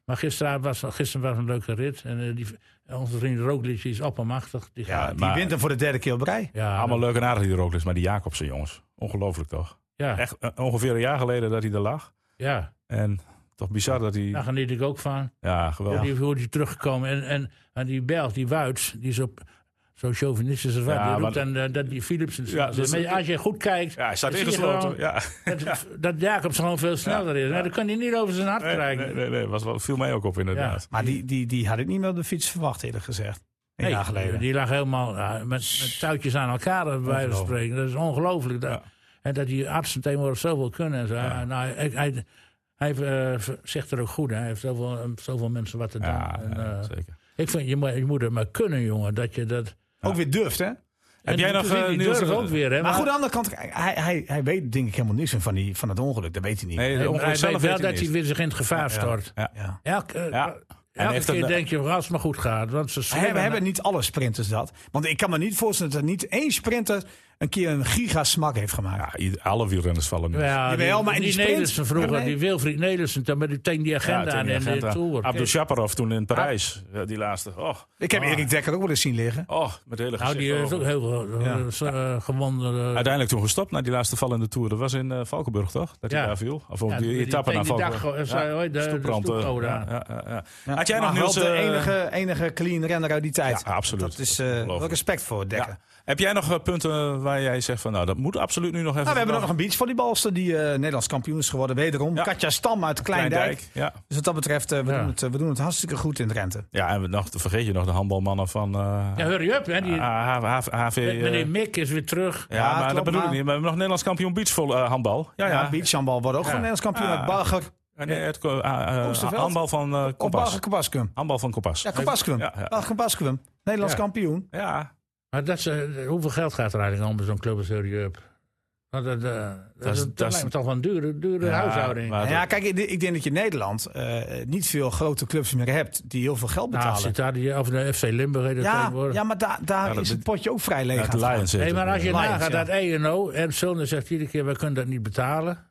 S3: maar gisteren was, gisteren was een leuke rit. En eh, die, onze vriend Roglic die is oppermachtig. Die
S4: Ja,
S3: gaat-
S4: die
S1: maar-
S4: wint hem voor de derde keer op rij.
S3: ja,
S1: Allemaal leuk en aardig die er ook is. Maar die Jacobsen, jongens. Ongelooflijk toch?
S3: ja,
S1: Echt eh, ongeveer een jaar geleden dat hij er lag.
S3: ja,
S1: En toch bizar dat hij...
S3: daar geniet ik ook van.
S1: Ja, geweldig.
S3: Die, hoe die teruggekomen. En, en, en die Belg, die Wuits, die is op zo chauvinistisch als wat.
S1: Ja,
S3: die roept
S1: maar-
S3: dan eh, dat die Philipsen...
S1: Ja, dat is-
S3: maar als je goed kijkt,
S1: Ja, hij staat
S3: dan zie je
S1: ingesloten.
S3: gewoon
S1: Ja.
S3: dat, dat Jacobs gewoon veel sneller is. Nou, dan kan hij niet over zijn hart
S1: Nee, nee,
S3: krijgen.
S1: nee, nee, was wel, viel mij ook op inderdaad.
S4: Maar die, die, die had ik niet meer op de fiets verwacht, eerlijk gezegd. Een
S3: Nee,
S4: jaar geleden.
S3: Die lag helemaal ja, met, met touwtjes aan elkaar, bij wijze van spreken. Dat is ongelooflijk. Dat,
S1: Ja.
S3: En dat die artsen tegenwoordig zoveel kunnen. En zo. Nou, hij, hij, hij, eh, zegt er ook goed, hè. hij heeft zoveel, zoveel mensen wat te doen.
S1: Ja,
S3: En,
S1: ja,
S3: eh,
S1: zeker.
S3: ik vind, je, moet- je moet het maar kunnen, jongen, dat je dat...
S4: Ook weer durft, hè?
S1: Heb jij nog, eh,
S3: die
S1: Niels,
S3: durf
S1: eh,
S3: ook weer, hè?
S4: Maar goed, aan de andere kant, hij, hij, hij weet denk ik helemaal niks van, die, van het ongeluk. Dat weet hij niet.
S1: Nee,
S3: hij
S1: de ongeluk
S3: weet
S1: zelf
S3: wel
S1: weet eh, hij
S3: dat hij
S1: niet.
S3: weer zich in het gevaar stort.
S1: Ja.
S4: Ja.
S3: Elke, eh,
S1: Ja. En
S3: elke
S1: heeft een-
S3: keer denk je, als het maar goed gaat. Want ze
S4: Maar hebben,
S3: slimmen-
S4: hebben niet alle sprinters dat? Want ik kan me niet voorstellen dat er niet één sprinter een keer een gigasmak heeft gemaakt.
S1: Ja, ieder- alle wielrenners vallen nu.
S3: Ja, die,
S4: Jawel, maar in
S3: die
S4: die sprint-
S3: Nederlandsen vroeger,
S4: Ja, nee.
S3: die Wilfried Nederlandsen, toen met die- tegen die Dus
S1: Ja,
S3: agenda
S1: tegen
S3: aan
S1: die
S3: en de
S1: agenda.
S3: Tour. Ah.
S1: Abdul Shaparov toen in Parijs, ja, die laatste. Oh,
S4: Ik heb Erik Dekker ook wel eens zien liggen.
S1: oh met hele
S3: Nou,
S1: gezicht.
S3: die heeft
S1: Oh.
S3: ook heel veel eh,
S4: Ja.
S3: zo, eh, gewonden. eh,
S1: Uiteindelijk toen gestopt na die laatste val in de Tour. Dat was in eh, Valkenburg, toch? Dat hij
S3: Ja.
S1: daar viel. Of op
S3: ja,
S1: die etappe naar
S3: tegen die dag,
S1: Valkenburg.
S3: eh, zei, hoi, de, oh, de
S1: Stoepbrand, eh,
S3: stoepcode
S1: ja,
S3: aan.
S1: ja, ja, ja.
S4: Ja.
S1: Had jij nog
S4: Maar
S1: Niels...
S4: wel de
S1: eh,
S4: enige, enige clean renner uit die tijd.
S1: Ja, absoluut.
S4: Dat is
S1: Dat
S4: eh,
S1: geloof
S4: wel
S1: ik.
S4: respect voor
S1: ja.
S4: Dekker.
S1: Heb jij nog eh, punten waar jij zegt van... Nou, dat moet absoluut nu nog even...
S4: Nou, we hebben ook nog een beachvolleybalster die eh, Nederlands kampioen is geworden. Wederom
S1: Ja.
S4: Katja Stam uit Kleindijk.
S1: Ja.
S4: Dus wat dat betreft, eh, we,
S3: Ja.
S4: doen het, eh, we doen het hartstikke goed in Drenthe.
S1: ja, en we- nog, vergeet je nog de handbalmannen van... eh,
S3: Ja, hurry up, hè. Die,
S1: Ah, H- H- HV. eh,
S3: meneer Mick is weer terug.
S1: ja,
S4: Ja,
S1: maar
S4: klopt,
S1: dat bedoel ik
S4: maar-
S1: niet. Maar we hebben nog Nederlands kampioen beachvol eh, handbal. Ja,
S4: Ja,
S1: ja.
S4: beachhandbal wordt ook gewoon Nederlands kampioen
S1: Ja.
S4: uit Barger.
S1: En, eh, het, ko- ah, eh,
S4: Oosterveld?
S1: handbal van eh
S4: Op
S1: Kompas.
S4: Barger Kabaskum.
S1: Handbal van Kompas.
S4: Ja,
S1: Ja.
S4: Kabaskum.
S1: Ja, ja.
S4: Barger Kabaskum. Nederlands
S3: Ja.
S4: kampioen.
S3: Maar dat, is, eh, hoeveel geld gaat er eigenlijk om bij zo'n club als hurry up? Want dat, eh, dat,
S1: is-
S3: dat
S1: dat is-
S3: lijkt me toch wel een dure, dure
S1: Ja,
S3: huishouding.
S1: maar-
S4: Nou ja, kijk, ik, ik denk dat je in Nederland eh, niet veel grote clubs meer hebt die heel veel geld
S3: Nou,
S4: betalen.
S3: zit daar die, of de FC Limburg heet dat
S4: ja,
S3: tegenwoordig.
S4: ja, maar daar daar
S1: Ja, dat
S4: is het
S1: bet-
S4: potje ook vrij leeg.
S1: Uit de
S4: aan het gaan.
S1: Lions. heet
S3: Nee, maar
S1: het,
S3: als je
S1: eh.
S4: Lions,
S3: nagaat
S4: ja.
S3: dat ENO en Zulner zegt iedere keer: we kunnen dat niet betalen.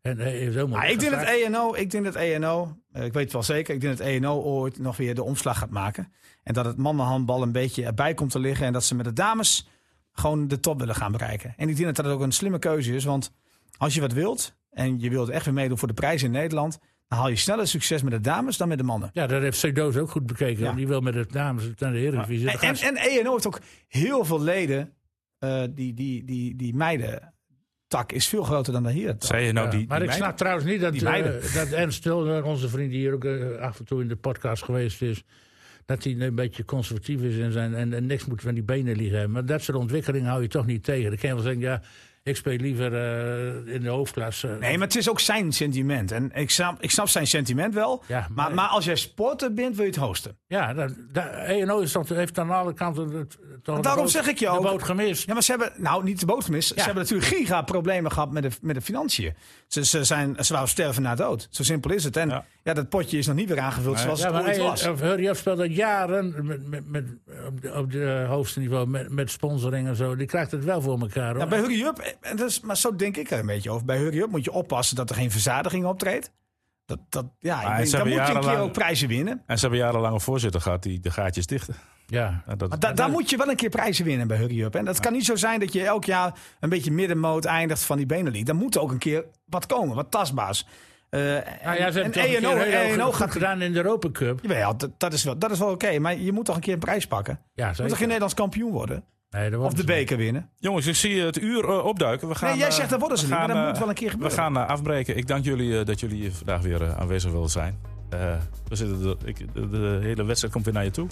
S3: En hij heeft helemaal.
S4: Ah,
S3: niks
S4: ik denk dat
S3: gevraagd.
S4: ENO, ik denk dat ENO, eh, ik weet het wel zeker, ik denk dat ENO ooit nog weer de omslag gaat maken. En dat het mannenhandbal een beetje erbij komt te liggen en dat ze met de dames gewoon de top willen gaan bereiken. En ik denk dat dat ook een slimme keuze is, want als je wat wilt en je wilt echt weer meedoen voor de prijs in Nederland, dan haal je sneller succes met de dames dan met de mannen.
S3: Ja, dat heeft Cedo's ook goed bekeken.
S4: Ja. E
S3: want Die wil met het dames en de Eredivisie.
S4: En, en, en ENO heeft ook heel veel leden eh, die, die, die, die meidentak is veel groter dan de heren.
S1: Zei je nou
S3: Ja,
S1: die,
S3: maar
S1: die
S3: ik snap
S1: meiden?
S3: trouwens niet dat,
S4: die
S3: eh,
S4: meiden.
S3: dat Ernst Stil, onze vriend die hier ook eh, af en toe in de podcast geweest is, dat hij een beetje conservatief is in zijn, en, en niks moet van die benen liggen hebben. Maar dat soort ontwikkelingen hou je toch niet tegen. Dan kan je wel zeggen, ja, ik speel liever eh, in de hoofdklasse.
S4: Nee, maar het is ook zijn sentiment. En ik snap, ik snap zijn sentiment wel.
S3: Ja,
S4: maar,
S3: maar-
S4: maar, als jij sporter bent, wil je het hosten.
S3: Ja, dat, dat, ENO is toch, heeft aan alle kanten het, toch de
S4: Daarom
S3: boot-
S4: zeg ik je
S3: de
S4: ook.
S3: boot gemist.
S4: Ja, maar ze hebben, nou niet de boot gemist. Ze hebben natuurlijk giga problemen gehad met de, met de financiën. Ze, ze, zijn, ze waren sterven na dood. Zo simpel is het. En
S1: Ja.
S4: ja, dat potje is nog niet weer aangevuld zoals
S3: Ja,
S4: het
S3: maar
S4: ooit was.
S3: hey, eh, of Hurry Up speelt al jaren met, met, met, op, de, op de hoogste niveau met, met sponsoring en zo. Die krijgt het wel voor elkaar. hoor.
S4: Ja, bij Hurry Up, eh, en dat is, maar zo denk ik er een beetje over. Bij Hurry Up moet je oppassen dat er geen verzadiging optreedt. Dat, dat, ja,
S1: Maar
S4: ik denk,
S1: ze
S4: dan
S1: hebben
S4: moet je een keer
S1: jarenlang-
S4: ook prijzen winnen.
S1: En ze hebben jarenlang een voorzitter gehad die de gaatjes dichtte.
S3: ja.
S1: En dat-
S4: Maar da- daar moet je wel een keer prijzen winnen bij Hurry Up. En dat kan niet zo zijn dat je elk jaar een beetje middenmoot eindigt van die Benelink. Dan moet ook een keer wat komen, wat tastbaars. Eh,
S3: Nou ja, ze
S4: en E
S3: hebben toch een
S4: ENO,
S3: keer heel
S4: ENO
S3: goed
S4: gaat...
S3: gedaan in de Europa Cup.
S4: Jawel, dat, dat is wel, dat is wel oké, maar je moet toch een keer een prijs pakken. Je
S3: Ja,
S4: moet
S3: zeker.
S4: toch geen Nederlands kampioen worden?
S3: Nee, dat
S4: Of
S3: wordt-
S4: de beker winnen?
S1: Jongens, ik zie het uur eh, opduiken. We gaan,
S4: Nee, jij
S1: eh,
S4: zegt dat worden ze
S1: we
S4: niet, maar
S1: gaan,
S4: dat
S1: eh,
S4: moet wel een keer gebeuren.
S1: We gaan eh, afbreken. Ik dank jullie eh, dat jullie hier vandaag weer eh, aanwezig wilden zijn. Eh, we zitten er- ik, de, de hele wedstrijd komt weer naar je toe.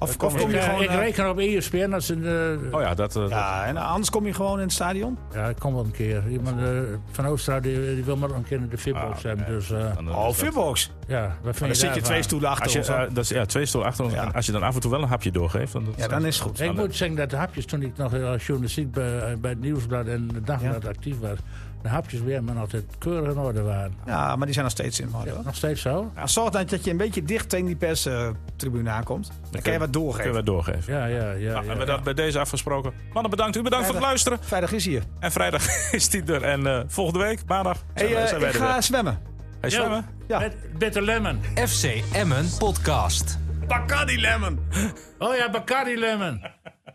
S4: Of,
S1: kom
S4: of kom
S3: Ik,
S4: je
S3: eh,
S4: gewoon...
S3: ik
S4: eh,
S3: reken op ESPN. Dat ze, eh,
S1: Oh ja, dat, eh,
S4: ja, en anders kom je gewoon in het stadion.
S3: ja, ik kom wel een keer. Iemand, eh, van Oostraat die, die wil maar een keer in de fitbox
S1: Ah,
S3: hebben. Dus eh,
S1: dan, eh,
S4: Oh,
S1: is dat-
S4: Fibbox.
S3: ja, wat vind
S4: Dan
S3: je
S4: zit je twee
S3: daarvan?
S4: stoelen achter
S1: Als je,
S4: ons. aan.
S1: eh, dat is, ja, twee stoelen achter ons.
S4: Ja.
S1: En Als je dan af en toe wel een hapje doorgeeft. Dan,
S4: Ja, dan is het goed.
S3: Ik moet zeggen dat de hapjes, toen ik nog als journalistiek bij, eh, bij het Nieuwsblad en het Dagblad actief was, de hapjes bij men altijd keurig in orde waren.
S4: Ja, maar die zijn nog steeds in orde. hoor.
S3: Nog steeds zo?
S4: Ja, zorg dan dat je een beetje dicht tegen die perstribune aankomt. Dan kan je wat
S1: Kunnen
S4: doorgeven.
S1: we doorgeven.
S3: Ja, ja, ja.
S4: Ah,
S1: Nou,
S3: ja.
S1: hebben we dat bij deze afgesproken. Mannen, bedankt. U bedankt voor het
S4: Vrijdag.
S1: luisteren.
S4: Vrijdag is hier.
S1: En vrijdag is die er. En eh, volgende week, maandag, zijn,
S4: Hey,
S1: wij-
S4: eh,
S1: zijn wij
S4: ik
S1: er
S4: ga
S1: weer.
S4: zwemmen.
S1: Hey,
S3: Yo,
S1: zwemmen.
S4: Ja.
S3: Met Bitter Lemon.
S2: FC Emmen Podcast.
S4: Bacardi Lemon.
S3: Oh ja, Bacardi Lemon.